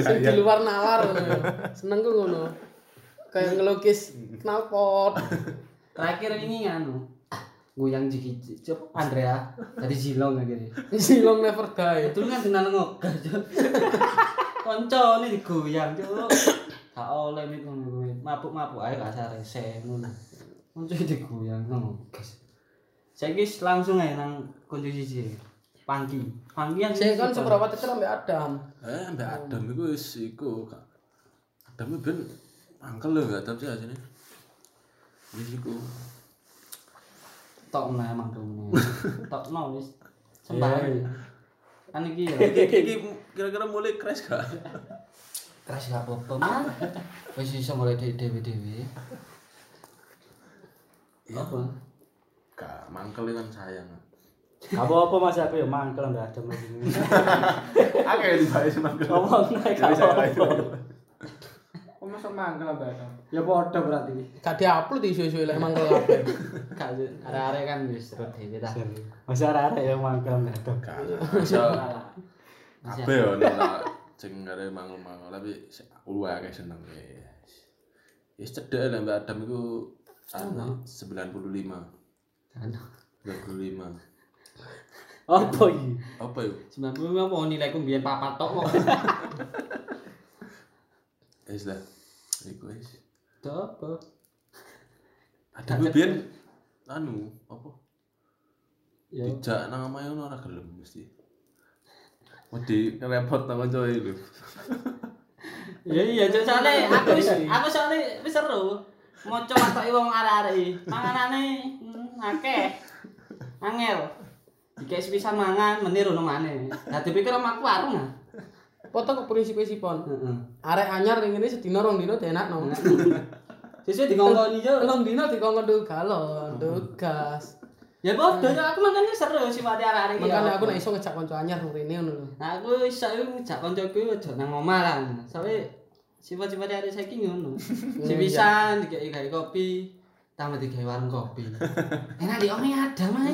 B: Sing di luar nalar ngono. Seneng ku ngono. Kayak ngelukis knalpot.
A: Terakhir ini anu. Goyang jiki cep Andrea dari Jilong akhirnya.
B: Silong never die.
A: Betul kan dengan ngogah, Cuk. Konco ini digoyang, Cuk. Gak oleh mit ngono kuwi. Mabuk-mabuk ae gak sarese ngono. Konco digoyang ngogah. Saiki wis langsung ae nang kunci siji. Pangki. Pangki yang
B: Saya kan
A: siji.
B: seberapa dekat sampai Adam.
C: eh mbak Adam iku wis iku Kak. Adam iku ben angkel lho mbak Adam sih asine wis iku
A: tok nah emang dong. Tok no wis. Sembarang. Kan iki ya.
C: iki iki kira-kira mulai crash gak
A: Keras gak apa-apa, Mas. Wis iso mulai dhewe-dhewe. Apa?
C: gak mangkel kan sayang
E: Apa-apa Mas aku ya mangkel ndak ada mas ini.
C: aku yang dibahas mangkel
E: Ngomong naik apa-apa.
D: Kok masuk mangkel Mbak Adam? Ya podo berarti.
B: Gak diupload di isu-isu lek mangkel kabeh.
A: Gak arek-arek kan wis seru dhewe ta.
E: Mas arek ya mangkel ndak ada.
C: gak iso ape yo nolak sing ngare mangkel-mangkel tapi se- aku akeh seneng ya wis cedek lah mbak Adam iku anak 95
A: Kan.
C: 25
E: Apa iki?
C: apa yuk
A: 90 apa Oh, nilaiku mbiyen papat tok kok.
C: Wis lah. Iku wis.
A: Duh, apa?
C: Ada biyen anu apa?
A: Ya.
C: Dijak nang omahe ngono ora gelem mesti. Wedi repot nang kanca e lho.
A: Ya iya cuk soalé aku wis aku soalé wis seru. Maca watoki wong arek-arek iki. Manganane hmm, akeh. Angel. Jika bisa mangan menir ono maneh. Lah dipikir omahku warung ah.
B: Foto ke prinsip sipon.
A: Heeh.
B: Arek anyar ning ngene sedina rong dino dienakno.
A: Sesuk dikongkoni yo.
B: Rong dino dikongkon tuh galon, tugas.
A: Ya bodoh, ya aku makanya seru sih mati arah arah
B: Makanya aku nek iso ngejak kanca anyar rong rene ngono lho.
A: aku iso iku ngejak kancaku aja nang omah lah. Soale sifat-sifat arek saiki ngono. Sepisan dikeki gawe kopi, tambah digawe warung kopi. Enak di omahe ada mah.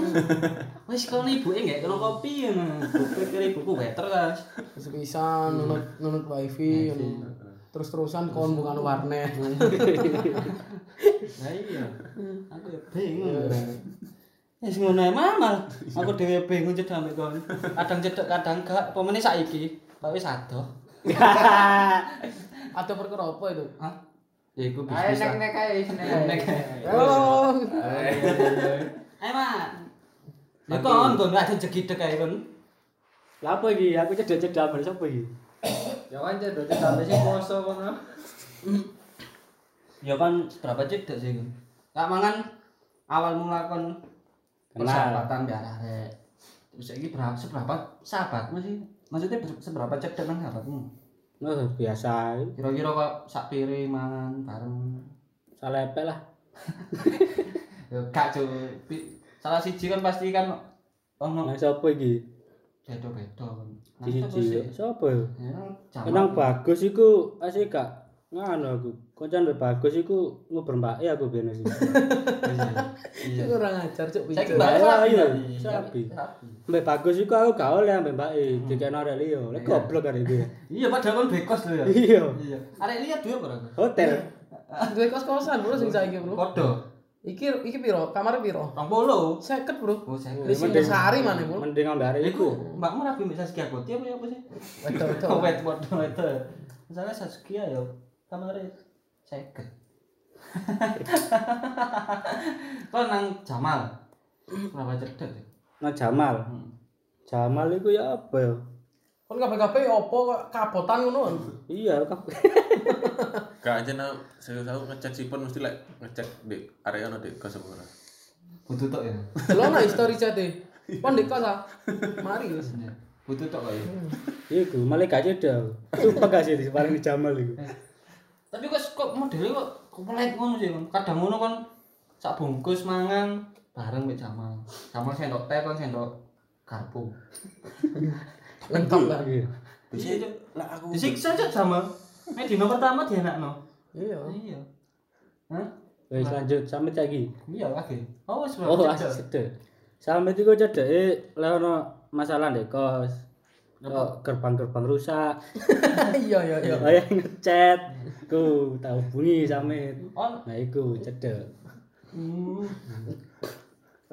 A: Wis kono ibuke gak kena kopi ngono. Buku kira ibuku weter guys.
B: Sepisan nunut nunut wifi ngono. Terus-terusan kon bukan warnet.
A: Lah iya. Aku ya bingung. Wis ngono ae mamal. Aku dhewe bingung cedhak ambek kon. Kadang cedhak kadang gak. Pomene saiki kok wis adoh.
B: Ada perkara apa itu?
A: Hah? Ya iku
D: Ayo
A: bisnis. lah.
D: nek-nek ae sini. Nek.
B: Oh,
A: Ayo, Mak. Ya kon kon gak ada jegidek ae kon.
E: Lah apa iki? Aku cedek-cedek ambil sapa iki?
D: Ya kan cedok sampe sing poso kono.
A: Ya kan seberapa cedek sih kon? Gak mangan awal mula kon
E: Kenal.
A: persahabatan biar arek. Terus iki berapa seberapa sahabatmu sih? Maksudnya ber- seberapa cedek nang sahabatmu?
E: Nah, biasa.
A: Kira-kira kok sak piring mangan bareng.
E: Salepek lah.
A: Ya gak cuy. Pi- Salah siji kan pasti kan ono
E: Nah, sapa iki?
A: beda-beda kon.
E: Siji. Sapa ya?
A: Enang
E: Kenang bagus iku asih gak ngono aku. Koncan mbek bagus iku ngebermbake aku biyen sih.
A: Iya.
B: kurang ajar cuk
A: Saya
B: pincuk.
A: kembali
E: Iya,
A: sapi.
E: iya.
A: tadi.
E: Sapi. Mbek bagus iku aku gak oleh mbek mbake dikene arek liyo. Lek goblok arek iki.
A: Iya padahal kan bekos lho ya.
E: Iya.
A: Iya. Arek lihat duwe ora?
E: Hotel.
B: Duwe kos-kosan bro sing saiki bro.
A: Podo.
B: Iki iki piro? Kamar piro?
A: 20.
B: 50 bro.
A: Oh, saya
B: Wis sehari mana bro?
E: Mending ambek arek iku.
A: Iku mbakmu rapi mbek Saskia Goti apa ya apa sih?
B: Wedok wedok.
A: Wet podo wet. Misalnya Saskia ya kamare 50. Kok nang Jamal. Kenapa cerdas? ya?
E: Nah Jamal.
A: Hmm.
E: Jamal itu ya apa ya?
B: Kon kabeh-kabeh opo kok kabotan ngono kan?
E: Iya, kok
C: Gak aja nang serius aku ngecek sipon mesti lek ngecek di area ono di kosong ora.
D: Butuh tok ya.
B: Delok nang history chat e. Kon dek kos ah. Mari wis.
D: Butuh tok kok ya.
E: iku malaikat cedal. Sumpah gak sih paling Jamal iku.
A: Tapi kok kok modele kok komplit ngono sih, Kon. Kadang ngono kon sak bungkus mangan bareng mbek Jamal. Jamal sendok teh kon sendok garpu.
B: Lengkap lah.
E: Iya.
A: Iya, Cuk. Disiksa Cuk Jamal. Nek dino pertama dienakno.
B: Iya.
A: Iya. Hah?
E: Wis lanjut sampe lagi.
A: Iya lagi. Oh, wis
E: Oh,
A: berarti, Cuk.
E: sedek. Sampe iku cedeke eh, lek ono masalah ndek kos. Kok gerbang-gerbang rusak.
B: Iya iya iya.
E: Kayak ngechat. Ku tak hubungi sampe.
A: On.
E: Nah iku cedek.
A: Hmm.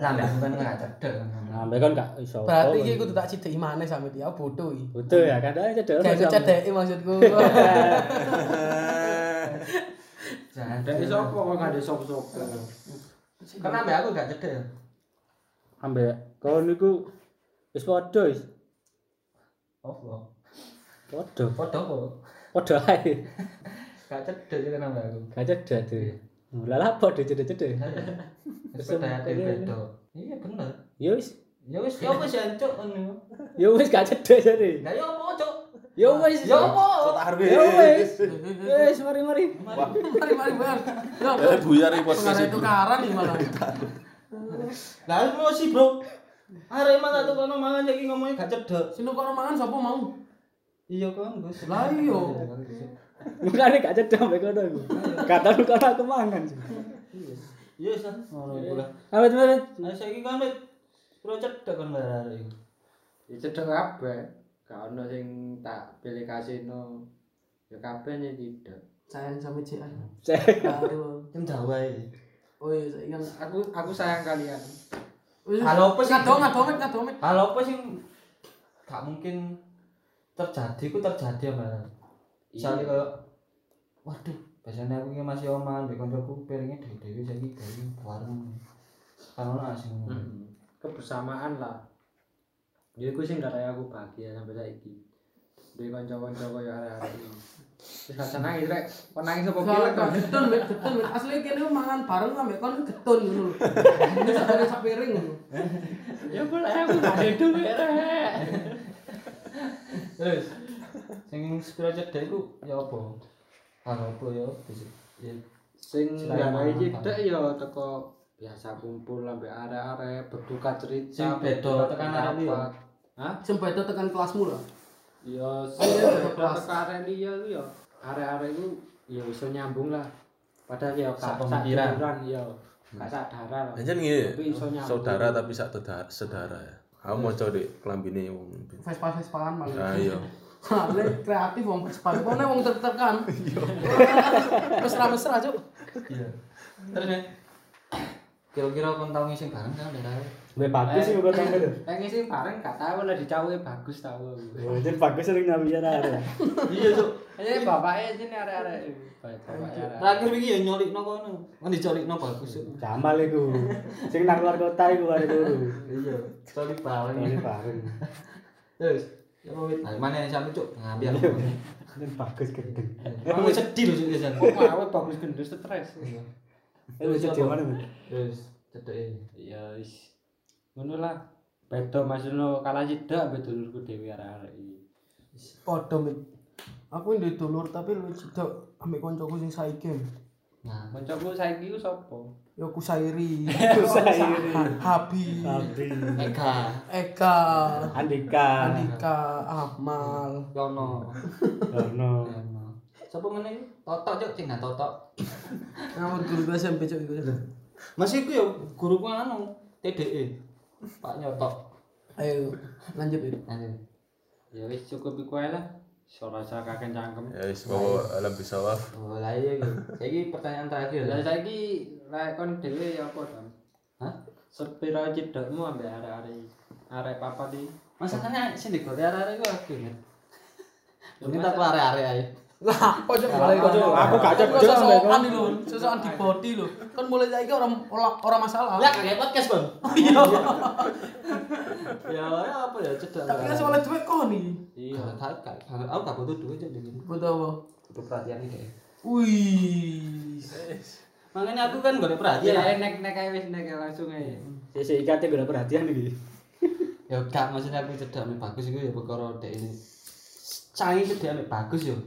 A: Lah, mbak, bukan nggak cedek.
E: Nah, mereka kan gak iso.
B: Berarti iki kudu tak cedeki maneh sampe dia bodoh iki.
E: Betul ya, kadang cedek.
B: Kayak
E: masuk.
B: cedeki maksudku.
A: Cedek.
D: Dari sopo kok gak ada sopo-sopo.
A: Kenapa aku gak cedek? ya?
E: ambek kon niku wis padha wis
A: Apa?
E: padha
A: Padha kok.
E: padha ae
A: Gak cedek sih kenapa aku.
E: gak cedak tuh lah lah padha cedek-cedek
A: Wis Sepeda ati beda. Iya bener.
E: ya wis
A: Ya wis, ya wis ya cuk ngono.
E: ya wis gak cedek jare
A: Lah ya apa cuk?
E: ya wis
A: Ya apa?
E: ya wis wis mari mari
B: Mari mari bar. Yo.
C: Eh buyar iki podcast
B: Pengaruh
C: iki.
B: tukaran iki malah.
A: Lah lu sih, Bro. Arek emang gak tukono mangan saiki ngomongnya gak cedek.
B: Sino kono mangan sapa mau?
A: Iya kan, Gus.
B: Lah iya.
E: mukane gak cedak ambek kono iku gak tau kono aku mangan
A: Iya sih. Ngono iku lah.
E: awet mari
A: Nah saiki kan wis pro cedek kan barare iku.
D: Ya cedek kabeh. Gak ono sing tak pilih kasino. Ya kabeh ya tidak.
B: Sayang sama CI.
E: Cek.
B: Aduh.
A: Tim Jawa iki.
B: Oh iya saiki kan.
D: Aku aku sayang kalian.
B: Wis.
A: Halo, apa sih?
B: Ngadong ngadomet ngadomet.
A: Hal apa sih yang gak mungkin terjadi ku terjadi ya Mbak. Misalnya kayak waduh, biasanya aku ini masih oman, di koncoku piringnya dari dewi jadi dari warung. Kalau nggak sih,
D: Hmm. Kebersamaan lah. Ya iku sing karek aku bahagia sampai saiki. Duwe kanca-kanca koyo arek-arek iki. Terus gak senang iki rek. Kok nangis apa pilek
B: Soalnya
D: kok.
B: getun, Mbak, getun. Mbak. Asli kene mangan bareng sampe kon getun ngono lho. Ini sak piring sak piring ngono.
D: Ya boleh aku gak ada duit rek.
A: terus sing sepira cedek ku ya apa? Hal apa ya? Bisa- ya,
D: Sing
A: Selain
D: nggak
A: mangan,
D: cedek ya teko biasa kumpul sampe arek-arek berduka
A: Sing
D: cerita.
A: beda
D: berduka
A: tekan arek liya.
D: pendapat. Hah?
B: Sampai itu tekan kelasmu lah.
D: Ya
B: iya,
D: sing
B: kelas.
D: Oh, kelas arek liya ku ya arek-arek iku ya iso nyambung lah. Padahal ya
A: Sak
D: gak
A: pemikiran.
D: pemikiran Hmm. ya. Gak sadara lah.
C: Anjen ngene.
D: Tapi iso nyambung.
C: Saudara tapi sak tedar- sedara ya. Aku mau coba di kelambine wong.
B: Vespa Vespaan malah.
C: Nah Ah, iya.
B: Soalnya Ah, kreatif wong Vespa. Pokoknya wong tertekan. Mesra-mesra, Cuk.
A: Iya. Terus nih, kira-kira kon tau ngisi bareng kan dari
E: Mbak bagus sih kok tanggal tuh
D: Pengen sih bareng gak tau lah dicawe bagus tau aku.
E: jadi bagus sering nabi ya ada
A: Iya tuh.
D: Ini bapaknya sini arek-arek. Bapaknya arek.
A: Terakhir iki ya nyolik no kono, kan dicolik no bagus. Cuk.
E: Jamal iku sing nang luar kota iku arek guru
A: Iya, colik bareng.
E: ini bareng
A: Terus, ya mau wit. Nah, mana yang sampe cuk? Ngambil.
E: ini bagus gede
A: Kamu sedih loh cuk ya
D: Kok mawe bagus gendut stres.
E: Eh, lu cedek mana, Bu?
A: Terus, cedek.
D: Ya wis. Ngono lah. Beda masno kalah sida ambek dulurku dhewe arek-arek iki.
B: Padha, Mbak. Aku duwe dulur tapi luwih cedok ambek koncoku sing saiki.
A: Nah,
D: Kancaku saiki ku sapa?
B: Ya aku Sairi,
E: Sairi.
B: Habi,
E: Abi
A: Eka,
B: Eka,
E: Andika
B: Andika, Ahmal.
A: Yono,
E: Barno
A: Yono. Siapa mana ini? Toto cuk, cina Toto.
B: Nama guru gue SMP Cuk iku. Cuk.
A: Masih ku ya guruku anu, TDE. Pak Nyoto.
B: Ayo lanjut ya.
A: Nanti.
D: Ya wis cukup iku ae lah. Ora usah kakek cangkem.
C: Ya wis bawa alam bisawaf.
A: Oh, lah iya iki. Saiki pertanyaan terakhir
D: Lah
A: lah.
D: saiki lek kon dhewe ya apa Dam?
A: Hah?
D: Sepira cedekmu ambek arek-arek iki? arek papat iki.
A: Masakane sing digoreng arek-arek ku aku. Ini tak arek-arek ae.
B: Lah, ojo mulai
E: ojo,
B: kono.
E: aku gak
B: Kowe
E: cedek
B: sosokan
E: sampe kono.
B: iki lho, sosokan di body lho. Kan mulai saiki ora ora ora masalah.
A: Lah kayak podcast, Bang.
B: Iya.
A: Oh, Ya ya apa ya cedak.
B: Tapi kan soalnya duit kon iki.
A: Iya, tak gak- gak- aku gak butuh duit jadi gini.
B: Butuh apa?
A: Butuh perhatian ini. deh.
B: Wih.
A: Makanya aku kan gak ada
D: Ya
A: perhatian.
D: nek nek ae wis nek ae langsung ae.
E: Sisi ikatnya gue perhatian iki.
A: Ya gak maksudnya aku cedak mek bagus iku ya perkara dek ini. Cai cedak mek bagus yo.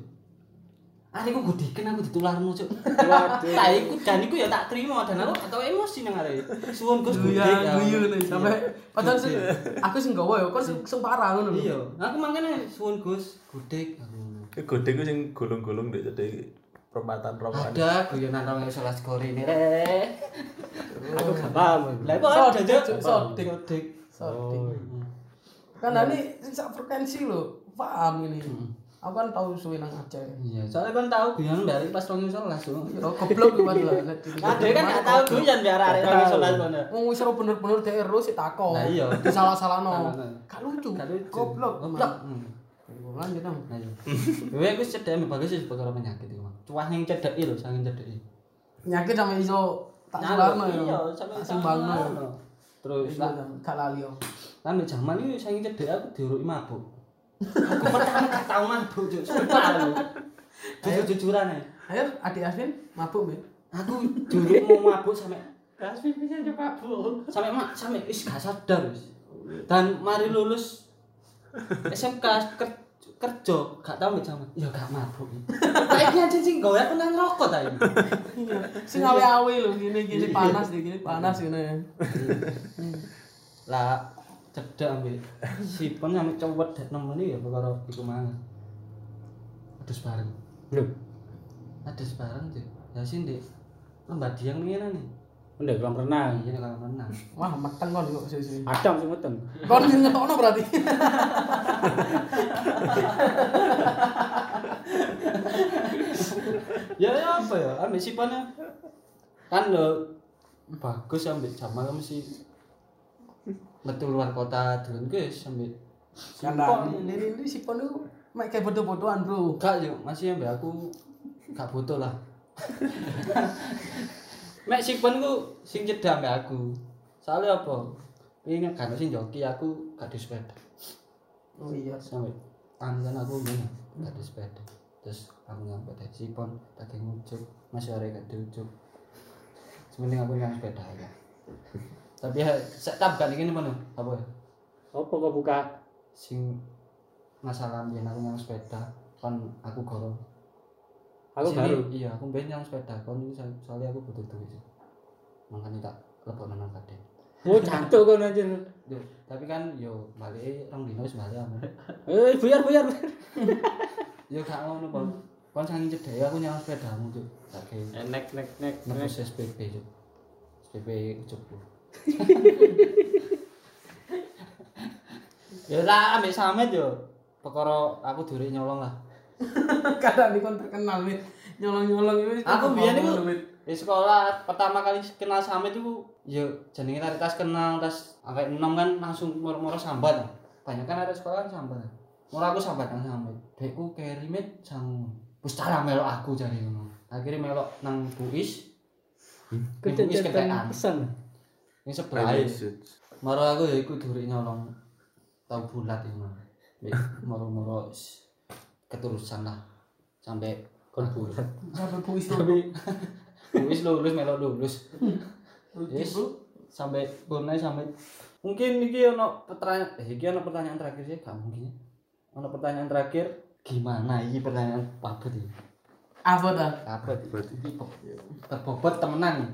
A: Ah, Ari ku gudiken aku ditularno, Cuk.
E: Waduh.
A: Tak iku dan iku ya tak terima dan aku atau emosi nang arek. Suwun Gus
B: Guyu
A: gudik. ya.
B: guyu nih sampai padahal
A: Gudik.
B: se- aku sing gawa ya, kon sing sing parah ngono lho.
A: Iya, aku makanya suwun Gus gudik. Aku-
F: Gede gue sing gulung-gulung deh jadi perempatan rombongan.
A: Ada guyonan orang salah skor ini re.
E: Aku gak paham.
A: Lah kok ada
B: Sodik,
A: Cuk?
B: Cuk, sodik.
A: Sodik.
B: Sodik. Kan ini sing sak frekuensi lho, paham ini. Aku kan tau suwe nang Aceh.
A: Iya, soalnya kan tahu guyon dari pas orang salah so.
B: Yo goblok kuwi padahal.
A: Ada kan gak tahu guyon biar arek orang salah mana.
B: Wong wis ora bener-bener dhek ero sik takon.
A: Nah, iya.
B: Disalah-salahno.
A: Nah, nah.
B: Gak lucu.
A: Gak lucu.
B: Goblok.
A: Oh,
B: Lah,
A: hmm.
B: lanjut dong.
A: Ayo. Kowe aku cedek ambek bagus wis perkara penyakit iku. Mang. Cuah yang cedeki lho, saking cedeki.
B: Nyakit sama iso tak
A: Nyakit,
B: sularno ya.
A: iya, sampe
B: Tak sumbangno ya.
A: sularno. Terus lah,
B: Gak lali yo.
A: ambek jaman iki saking cedek aku diuruki mabuk. Aku pertama gak tau mabuk, Cuk. Sumpah lho. Jujur-jujuran ae.
B: Ayo adik Asvin mabuk mbek.
A: Aku diuruk mau mabuk sampe
D: Rasmi bisa coba bu.
A: sampe mak sampe wis gak sadar wis. Dan mari lulus SMK ker- kerja gak tau mbek jaman. Ya gak mabuk. Saiki aja sing gawe aku nang rokok ta ini.
B: Sing awe-awe lho gini gini panas deh, gini panas gini.
A: lah cedak ambil sipon sama cowok dan nemen ya perkara iku mangan adus bareng
E: Lho,
A: adus bareng tuh ya sih di lembah diang pengen nih Ah,
E: ndek kolam renang.
A: iya kalau menang
B: Wah, meteng kon kok sih.
E: Adam sing meteng.
B: Kon sing ngetokno berarti.
A: ya ya apa ya ambil siponnya kan lo bagus ambil jamal mesti metu luar kota dulu guys ambil
B: Kan
A: sipon
B: ini ini sipon itu mek kayak bodoh-bodohan, Bro.
A: enggak ya masih ambil aku gak butuh lah Mek sipon ku sing cedak mbak aku. Soalnya apa? Pengen kan sing joki aku gak di sepeda.
B: Oh iya.
A: Sampai tangan aku ngene gak di sepeda. Terus aku nyampe dari sipon, tadi ngucuk, masih ada gak diucuk. Sementing aku nyampe sepeda ya. Tapi ya, saya tab kan ini mana? Apa ya?
E: Apa kok buka?
A: Sing masalah biyen aku nyampe sepeda, kan aku gorong.
E: Aku
A: Sini-
E: baru.
A: Iya, aku pengen nyampe sepeda, kan itu so- soalnya aku butuh duit. Makanya tak lebok nang kadek.
E: Oh, cantuk kono anjir.
A: Duh, tapi kan yo balik eh rong dino wis balik aku.
E: Eh, buyar buyar.
A: Yo gak ngono Pol. Kon sangi cedek aku nyawa sepedamu cuk. Lagi
E: Eh, Nek nek nek.
A: nebus SPP cuk. SPP cukup. ya lah ambek Samet yo. Perkara aku duri nyolong lah.
B: Kadang nih kon terkenal wit. Nyolong-nyolong itu.
A: Aku biyen iku di sekolah pertama kali kenal Samet iku yo jenenge tarik tas kenal tas angkat 6 kan langsung moro-moro sambat. Banyak kan ada sekolah kan sambat. Mula aku sambat nang Samet. Dekku kerimet sang wis cara melok aku jare ngono. Akhirnya melok nang Buis. Nang
E: Kudu
A: Buis ketekan.
E: pesan.
A: Ning sebelah ae.
F: Relationship.
A: Moro aku ya iku duri nyolong tau bulat iki mah. Wis, Moro-moro wis keturusan lah sampai kon bulat.
B: Sampai kuis tuh.
A: Tapi wis lulus melok lulus.
B: Rugi,
A: Yes.
B: Bro.
A: sampai bonai sampai mungkin iki ono pertanyaan eh iki ono pertanyaan terakhir sih gak mungkin ono pertanyaan terakhir gimana iki pertanyaan pabut iki
B: Apa ta?
A: pabut iki bo- terbobot temenan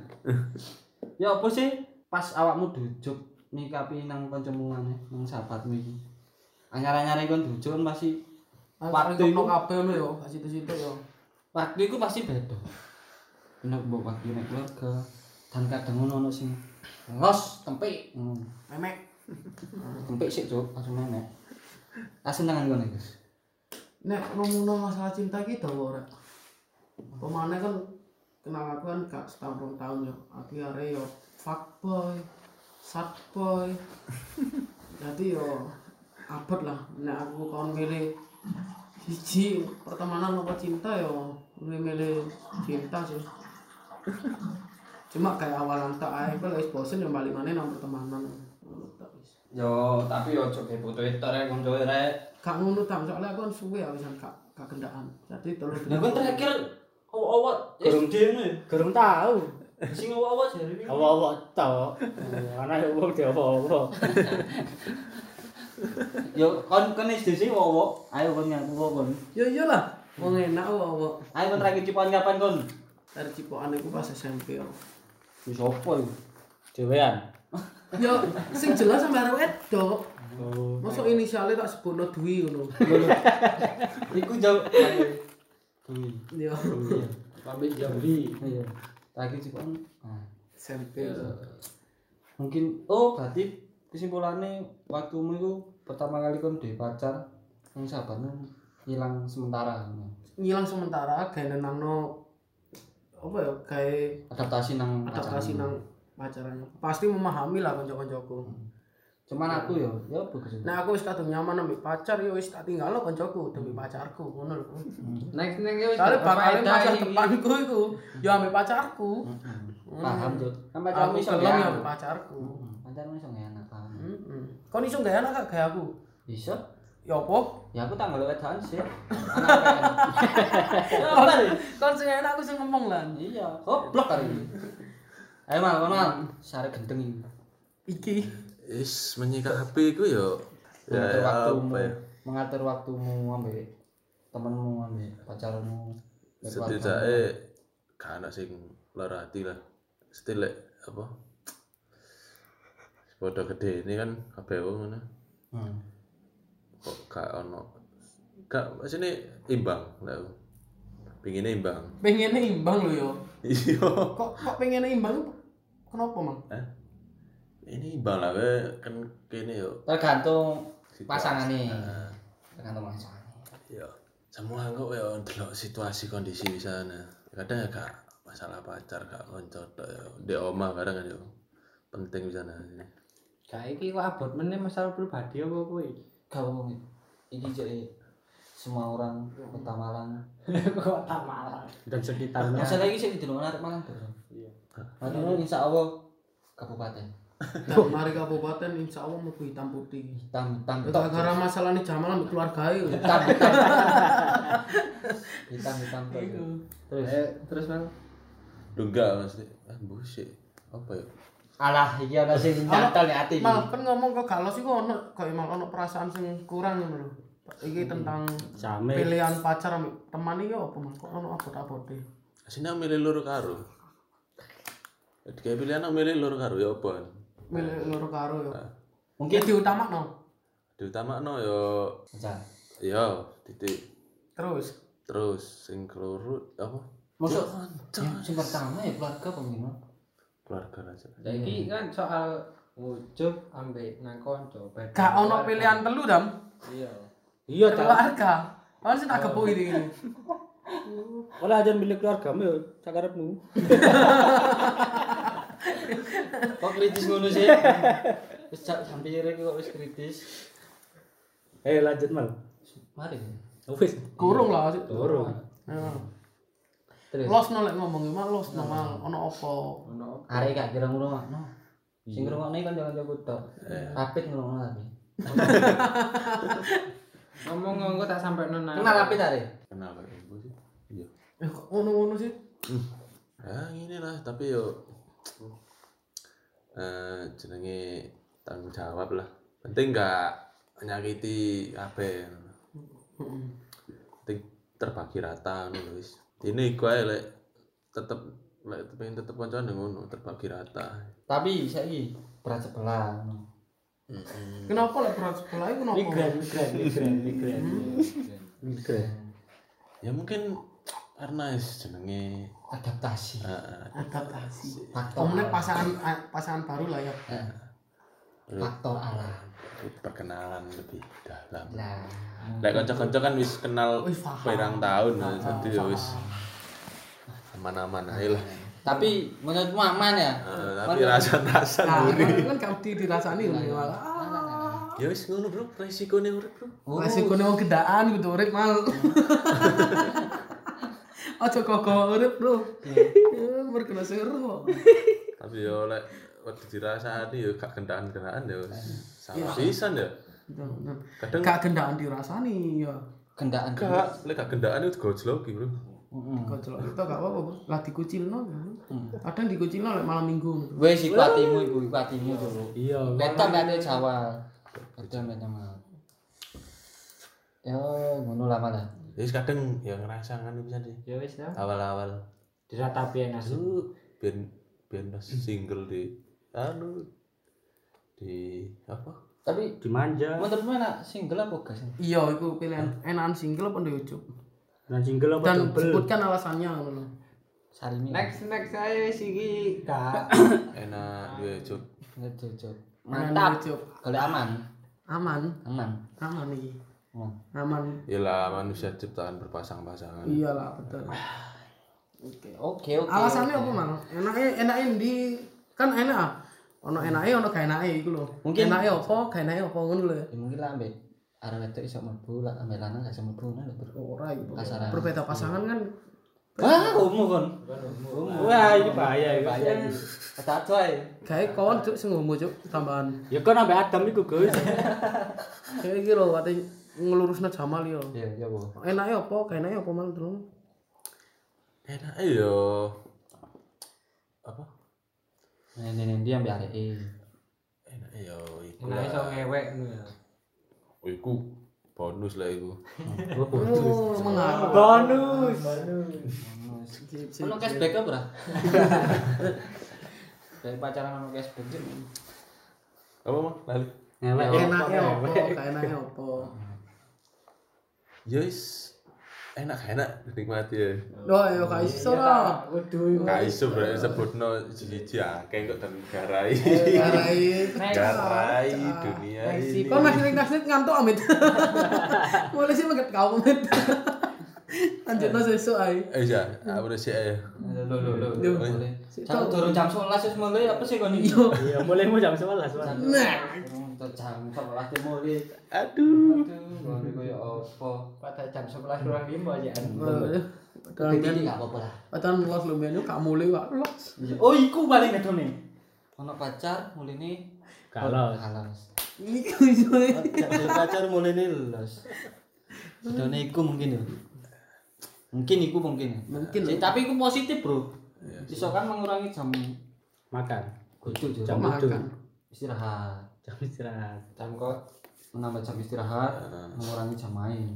A: ya apa sih pas awakmu dujuk nikapi nang kancamu aneh nang sahabatmu iki anyar-anyare kon dujuk kan pasti Waktu
B: Waktu
A: itu-
B: itu kabeh ngono yo, gak situ-situ yo.
A: waktu iku pasti beda ono mbok waktu nek keluarga dan kadang ono ono sing los tempik ngono.
B: Memek.
A: Empik sih, Cuk, eh. langsung nenek. Asin tangan kono, Gus.
B: Nek ngomongno masalah cinta iki dawa ora. Pemane kan kenal aku kan gak setahun rong tahun yo. Aku arek yo fuckboy, sad boy. Dadi yo abot lah nek aku kon milih siji pertemanan apa cinta ya lebih milih cinta sih cuma kayak awalan tak ae kalau wis bosen ya balik mana nang pertemanan Ngono tok wis.
A: Yo, tapi yo coba foto itu rek konco rek.
B: gak ngono tak soalnya aku kan suwe awisan gak gak kendaan jadi telu
A: Lah kon terakhir awak-awak SD ngono ya.
E: Gerung tahu.
A: Sing awak-awak jare iki.
E: Awak-awak tahu. Ana yo wong diopo-opo.
A: Yo kon kon SD sing awak. Ayo kon ngaku awak, kon.
B: yo yo lah wong enak wong wong
A: Ayo kon terakhir cipokan kapan kon?
B: dari cipokan aku pas SMP yo
A: Wis opo iku?
E: Dewean.
B: yo sing jelas sampe arep wedok
E: Oh.
B: masuk inisialnya tak sebutno Dwi ngono
A: Iku jauh.
B: yo
D: Pamit Jambi.
A: Iya. Terakhir cipokan. Nah.
B: SMP yo.
A: mungkin oh berarti kesimpulannya waktumu itu pertama kali kon duwe pacar yang sahabatnya hilang sementara
B: ngilang sementara kayak nenangno apa ya kayak
A: adaptasi nang
B: adaptasi
A: pacarmu.
B: nang pacarannya pasti memahami lah kanca-kancaku
A: cuman aku ya ya bagus nah.
B: nah aku wis kadung nyaman ambek pacar ya wis tak tinggal lo kancaku demi pacarku ngono lho
D: Next next ya wis.
B: soalnya
D: gak
B: bakal
D: faedah
B: masa
D: ini.
B: depanku iku ya ambek pacarku
A: paham
B: Hmm.
A: tuh kan
B: aku
A: pacarmu iso
B: kelem ya
A: ya
B: ambek pacarku
A: pacarmu iso nggak enak paham
B: Heeh. kon iso gak enak gak kayak aku
A: iso
B: ya apa
A: ya aku tanggal wedan sih anak keren Ya, apa nih?
B: kon sing enak aku sing ngomong lan
A: iya goblok kali ini ayo mal kon, mal sare gendeng ini
B: iki
C: Is menyikapi iku yo
A: mengatur waktumu
C: Eh, apa ya?
A: mengatur waktumu ambek temenmu ambek pacarmu ambek keluargamu.
C: setidaknya gak ana sing lara hati lah mesti lek apa Sepodo gede ini kan kabeh wong ngono
A: hmm.
C: kok gak ono gak maksudnya imbang lek aku. pinginnya imbang
B: pengennya imbang lho yo
C: iya
B: kok kok pengennya imbang kenapa mang
C: ini imbang lah we. kan kene yo
A: tergantung
C: Situasi.
A: pasangan nih tergantung pasangan
C: yo semua kok yo ndelok situasi kondisi di sana kadang ya gak masalah pacar gak konco tok yo di omah kadang kan yo penting di sana
D: Gak iki kok abot meneh masalah pribadi apa kowe?
A: kalau ngomong ini jadi semua orang kota Malang
D: Kok tak marah.
E: Dan sekitarnya.
A: masalah ini sih di mana arek Malang bro Malang insya Allah kabupaten
B: Nah, mari kabupaten insya Allah mau hitam putih.
A: hitam hitam
B: Itu karena masalah nih Jamal ambil keluarga itu.
A: hitam hitam hitam hitam tok. terus
D: Eh, terus Bang.
C: Duh enggak mesti ah busik apa ya
A: alah iki ana sing nyantel nih ati
B: Mal kan ngomong kok galos itu ono kok emang ono perasaan sing kurang ngono lho. Iki tentang
E: Jame.
B: pilihan pacar ambek teman iki apa Mang? Kok ono abot-abot e.
C: Asine aku milih loro karo. Jadi kayak pilihan aku milih loro karo ya apa?
B: Milih loro karo yo.
A: mungkin
B: Mungkin diutamakno.
C: Diutamakno ya
A: Jangan.
C: ya titik
B: Terus
C: terus sing keloro apa?
A: Masuk yang pertama ya keluarga pemimpin.
C: Keluarga aja.
D: Ya iki kan soal wujud ambek nang kanca. beda
B: gak ono
D: keluarga.
B: pilihan telu dam
D: Iya.
E: Iya, Cak.
B: keluarga. Ono sing tak gepuk iki.
E: Ora aja milik keluargamu yo, sakarepmu.
A: Kok kritis ngono sih? Wis jak hampir iki kok wis kritis.
E: Eh, lanjut mal.
A: Mari.
E: Wis.
B: Kurung lah. sih.
E: Turun.
B: Nah.
A: Terus
B: Los no lek ngomong mah los no mal ono apa?
D: Ono
A: arek gak kira ngrungokno. Sing ngrungokne kan jangan jago tok. Rapit ngrungokno tapi.
D: ngomong ngomong tak sampe nang.
E: Ah.
A: Kenal rapit arek?
C: Kenal kok ibu sih. Iya.
B: Eh, kok Ngono-ngono sih.
C: Ya ini lah tapi yo eh jenenge tanggung jawab lah. Penting enggak menyakiti kabeh. Penting terbagi rata ngono lho, wis. Ini gue lek tetep lek pengen tetep kancan ngono terbagi rata.
A: Tapi saiki berat sebelah.
B: Kenapa lek berat sebelah iku Hmm? kenapa?
E: migran, migran, migran. Migran.
C: Ya mungkin karena wis jenenge
A: Adaptasi.
C: eh,
B: adaptasi
A: Faktor
B: omnya
A: alam.
B: pasangan a- pasangan baru lah ya
A: Eh,
C: Ah.
A: Faktor alam.
C: perkenalan lebih dalam.
A: Nah,
C: Lek kanca-kanca kan wis kenal
B: Wih, paham.
C: pirang tahun ya, jadi ya wis aman-aman aja lah.
A: tapi menurutmu aman ya?
C: Eh, tapi rasa-rasa
B: nah
C: gurih.
B: Ah, kan kan kamu dirasani loh malah
C: Ya wis ngono, Bro. Resikone urip, Bro.
B: Resikonya wong gedaan gitu urip mal. Ojo koko urip, Bro. Ya, Merkena seru.
C: Tapi yo lek wedi dirasani yo gak gendaan-gendaan yo salah pisan ya. Kadang
B: Kak gendaan dirasani ya.
A: Gendaan.
C: gak lek gak gendaan itu gojlok iki, Bro.
B: Gojol kita gak apa-apa, Bro. Lah dikucilno. Kadang dikucilno lek malam Minggu.
A: Wes iku atimu iku, iku atimu dulu.
E: iya
A: Lek tambane Jawa. Ada menyang. Ya ngono lah malah.
C: Wis kadang ya ngerasa kan pisan deh.
D: ya wis ya
C: Awal-awal
D: diratapi ya nasib
C: lu ben ben pas single di anu di apa?
A: Tapi
E: dimanja
A: menurutmu enak single apa gas?
B: Iya, iku pilihan enakan single apa ndek ujug.
E: dan single apa
B: Dan
E: double
B: sebutkan alasannya ngono.
A: Sarimi.
D: next next saya wis iki gak
C: Enak ya cuk.
A: Ngejojok.
B: Enakan
A: Mantap.
B: ujug.
A: Kalau aman,
B: Aman,
A: aman.
B: aman iki.
A: Oh.
B: Aman.
C: Yalah manusia ciptaan berpasang-pasangan.
B: Iyalah, betul. Oke.
A: Oke, oke.
B: Alasannya apa, Mang? Enaknya enaknya di kan enak. ah. Ono enake ono gak enake iku lho.
A: Mungkin-
B: enake apa, gak enake apa ngono lho. ya.
A: Ya, mungkin lah ambek arah wedok iso mlebu, lah ambek lanang gak iso mlebu ngono lho, Bro.
B: Ora iku.
A: Kasaran.
B: Berbeda pasangan kan
A: Wah, homo kon.
E: wah ini bahaya ya
A: Bahaya iki. Ketatu ae.
B: gawe kon cuk sing homo cuk tambahan.
E: ya kan sampai adam iku guys
B: Kayak iki lho kate ngelurusna Jamal yo.
A: Ya, ya, Bu.
B: Enake apa, gak enake apa Mang Drung?
C: Enak yo. Apa?
A: Nene nene ambek areke.
C: Enak yo iku.
D: enak Nah, iso ngewek ngono ya
C: Iku bonus lah iku.
B: Oh, mengaruh.
E: bonus
A: Ono cashback apa ora? Dari pacaran ono cashback. Cuk.
C: Apa mah? Lali.
E: ngewek ya
B: Enake apa, gak enake apa.
C: Yes. Enak enak nikmati ya.
B: Loh, yo gak iso lah.
D: waduh
C: Gak iso berarti sebutno siji-siji akeh kok dan garai.
B: Garai.
C: Garai dunia
B: Messi.
C: ini.
B: Kok masih ning kasih ngantuk Amit. Mulai sih maget kau Amit. Lanjut no sesuk ae.
C: Eh ya, aku udah sih eh.
A: Lho lho lho.
B: Duh.
A: Boleh. Jam turun jam 11 wis mulai apa sih kon iki?
B: Yo.
E: iya mulai mau jam 11 Mas.
A: Nah, Turun jam 11 wis mulai.
C: Aduh.
A: Aduh, ngono koyo apa?
D: pada jam 11 kurang 5 aja
B: Padahal
A: Tapi
B: ben-
A: gak apa-apa lah.
B: padahal los lu ben gak mulai kok los.
A: Oh, iku paling gedone. Ono pacar mulene
E: kalau
A: halos.
B: Iki iso.
A: Dari pacar mulene los. Gedone iku mungkin ya. Mungkin iku mungkin.
B: Mungkin
A: Ya, tapi iku positif, Bro. Iso kan mengurangi jam
E: makan
A: gojo jam
E: jam tidur
B: Makan.
A: istirahat.
E: jam istirahat
A: Jam kok menambah jam istirahat, mengurangi jam main.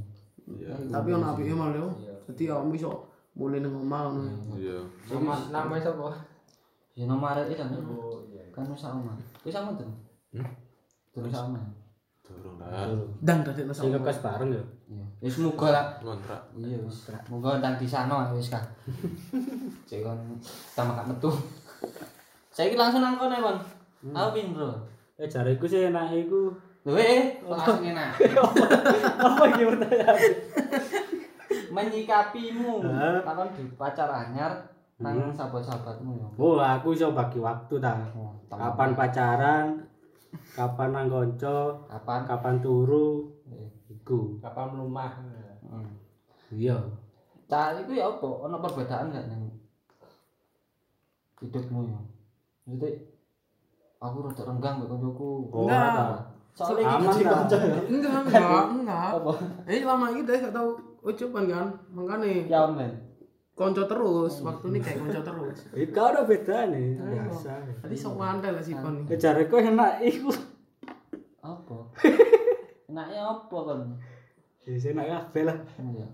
B: Tapi ono apike mal yo. Dadi awakmu iso mulai ning omah ngono.
A: Hmm.
C: Iya.
D: nama nama sapa
A: Ya nomor arek kan. Kan wis sak omah. Wis sak omah tuh. Turun sak omah.
C: Turun lah.
B: Dang dadi no
E: sing
B: sama.
E: kekes bareng ya
A: Iya. Wis muga lah.
C: Ngontrak.
A: Iya wis. Muga nang disano wis kah. Cek kon tambah gak metu. Saiki langsung nang kono kon. Aku pin, Bro.
E: eh jariku sih enak iku
A: Lho eh, langsung enak.
E: apa iki pertanyaan
A: Menyikapimu
E: Hah?
A: lawan di pacar anyar nang sahabat-sahabatmu ya.
E: oh aku iso bagi waktu ta
A: Oh, tambah.
E: kapan pacaran kapan nang konco
A: Kapan?
E: kapan turu iku
D: kapan rumah
A: Hmm.
E: iya
A: Cah iku ya apa? Ono perbedaan gak nang hidupmu ya? Maksudnya aku rada renggang mbek kancaku.
E: Oh,
B: Enggak.
E: ora ta.
A: Soale iki
E: Aman
A: jadi
E: ta?
A: kanca ya.
B: Enggak, enggak, enggak.
A: Apa?
B: Eh lama iki deh gak tau ucapan kan. Makane
A: Ya men.
B: konco terus, waktu ini kayak konco terus.
E: Iku ada beda nih, biasa.
B: Tadi sok mantel lah sipon.
A: Hmm.
E: Eh jariku enak iku.
A: Apa? Enaknya apa kan?
E: Ya sih enak kabeh lah.
A: Iya.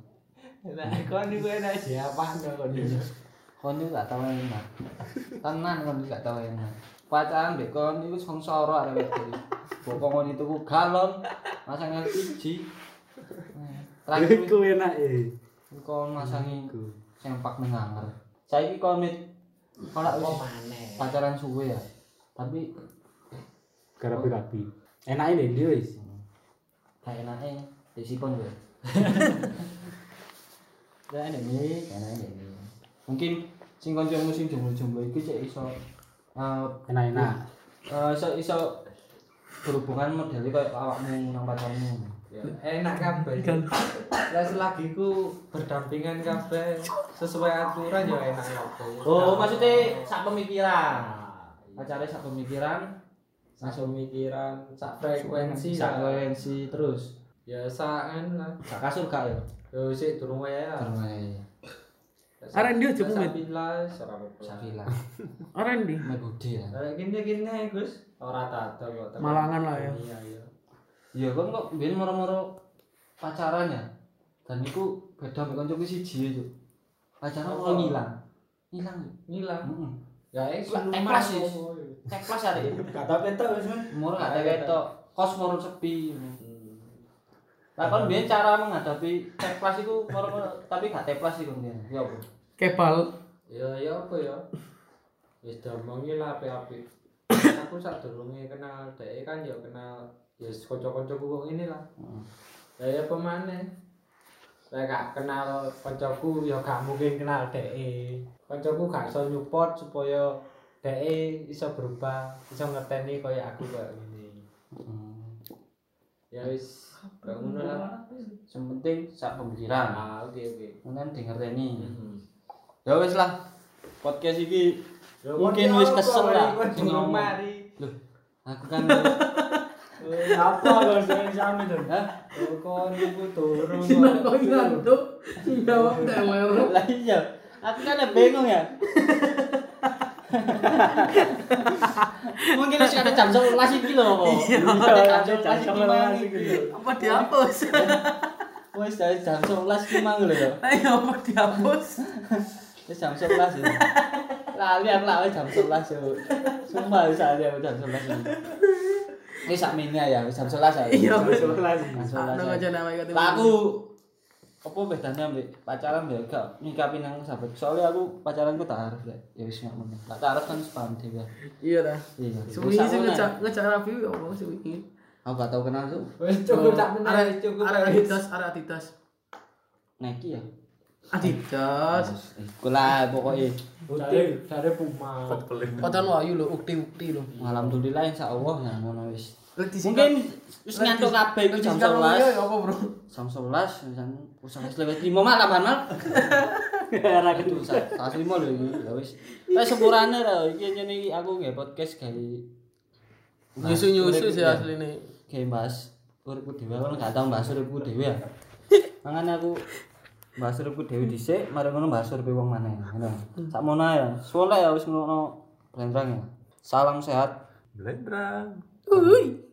D: enak kon iku enak siapa nang kon
A: Kon iku gak tau enak. Tenan kon iku gak tau enak. Pacaran mbek kon iku sengsara arek wedok. iku. Bokong kon itu galon, masang LPG. Nah, Terakhir
E: Iku enak eh.
A: kon masangi sempak ning anger. Saiki kon mit kon lak wis pacaran suwe ya. Tapi
E: Garapi-rapi. Enak ini dia wis.
A: gak enake disikon kowe. Ya enak ini, enak ini. Mungkin sing kancamu sing jomblo-jomblo iki cek iso eh
E: Enak-enak.
A: eh, iso iso berhubungan model kayak awakmu nang pacarmu.
D: Ya, enak kabeh lah selagi ku berdampingan kabeh sesuai aturan ya enak kabeh
A: Oh, maksudnya sak pemikiran.
D: Nah,
A: Pacarnya sak pemikiran,
D: sak pemikiran sak frekuensi
A: sak
D: lah.
A: koherensi terus.
D: ya sak kan lah
A: Sak kasur gak ya?
D: yo sik durung wae ya
A: Terus
B: Arek ndi ojo
D: sak
B: kumit?
D: pilas ora apa-apa
A: Safila,
B: Orang di
A: Megudi ya.
D: Kayak gini-gini Gus, ora tata kok. tekan
B: Malangan lah ya.
D: dunia, iya.
A: Iya, kon kok biyen moro-moro pacaran ya. Dan iku beda mek kancaku siji itu. Pacaran kok ngilang. Ngilang. ya?
D: Ngilang.
A: Heeh.
D: Ya eh
A: Lah,
D: sinuman
A: emplas,
D: kok.
A: Gus. Cek plus hari ini. Kata petok wis. Moro gak ada ketok. Kos moro sepi.
D: Hmm.
A: Lah kon biyen cara menghadapi cek plus iku moro-moro tapi gak teplas iku biyen. Ya apa?
B: kepal
D: Ya ya apa ya? Wis diomongi lah api-api. Aku sak durunge kenal dhek kan ya kenal ya kanca-kancaku kok ngene lah. Lah ya apa maneh? Lah gak kenal kancaku ya gak mungkin kenal dhek. Kancaku gak iso nyupport supaya dhek iso berubah, iso ngerteni kaya aku kaya ngene. Ya wis, gak ngono lah.
A: Sementing sak pemikiran.
D: Ah, oke oke.
A: Kan di ngerteni.
D: Mhm.
A: Ya wis lah. Podcast iki
D: Ya,
A: Mungkin
D: kok
A: wis
D: ya,
A: kesel
D: kok
A: lah.
D: mari, kok
A: Sing ngomong.
D: durung mari.
A: Loh, aku kan Hah?
E: Apa kalau saya sami tuh?
D: Kok kon iku durung.
G: Cina kok
D: kok.
G: ngantuk sing jawab teler
A: Lah iya. Aku kan ya bingung ya. Mungkin harus ada jam 11 iki lho kok.
G: Iya,
A: Ada jam 11 iki mang iki.
G: apa dihapus
A: Wis gitu. dari jam 11 iki mang lho ya.
G: ayo apa dihapus
A: Wis jam 11 ya. Lali aku lah wis jam 11 ya. Sumpah wis lali aku jam 11 ya. Wis sak mini
E: à?
A: ya, wis jam 11 ya.
G: Iya, wis
A: Jam eh. 11.
G: Ah, nang aja nama ikut
A: Lah aku apa bedanya ambek pacaran ya gak nyikapi nang sahabat. Soalnya aku pacaranku tak arep lek. Ya wis gak meneh. Tak arep kan sepaham dhewe.
G: iya dah
A: Iya.
G: suwi
A: Wis
G: sing
A: aku
G: ngecak
A: nek-
G: ngecak rapi ya apa suwi
A: Aku gak tau kenal tuh.
D: Wis cukup tak menang,
G: Arek-
D: wis cukup.
G: arek
D: wis.
G: adidas arek adidas
A: Nike ya.
B: Ah.
G: adidas
A: Iku lah pokoknya
D: Dari dari Puma.
G: Padahal wayu lho, ukti-ukti lho.
A: alhamdulillah insya Allah ya ngono wis.
G: Lek di
A: Mungkin wis ngantuk kabeh iku jam
G: Lek di- lek di- lek di-
A: 11.
G: apa, Bro?
A: Jam 11 misalnya usah wis lewat 5 malah mal. Ora ketu usah. Pas 5 lho iki ya wis. Wis sepurane ra iki nyene iki aku nggih podcast gawe
G: Nyusu-nyusu sih
A: Iya.
G: asline.
A: gawe bahas uripku dhewe kan gak tau bahas uripku dhewe ya. Mangane aku bahas uripku dhewe dhisik, mari ngono bahas urip wong maneh. Ngono. Sakmono ya. Soleh ya wis ngono blendrang ya. Salam sehat.
C: Blendrang.
G: Uy.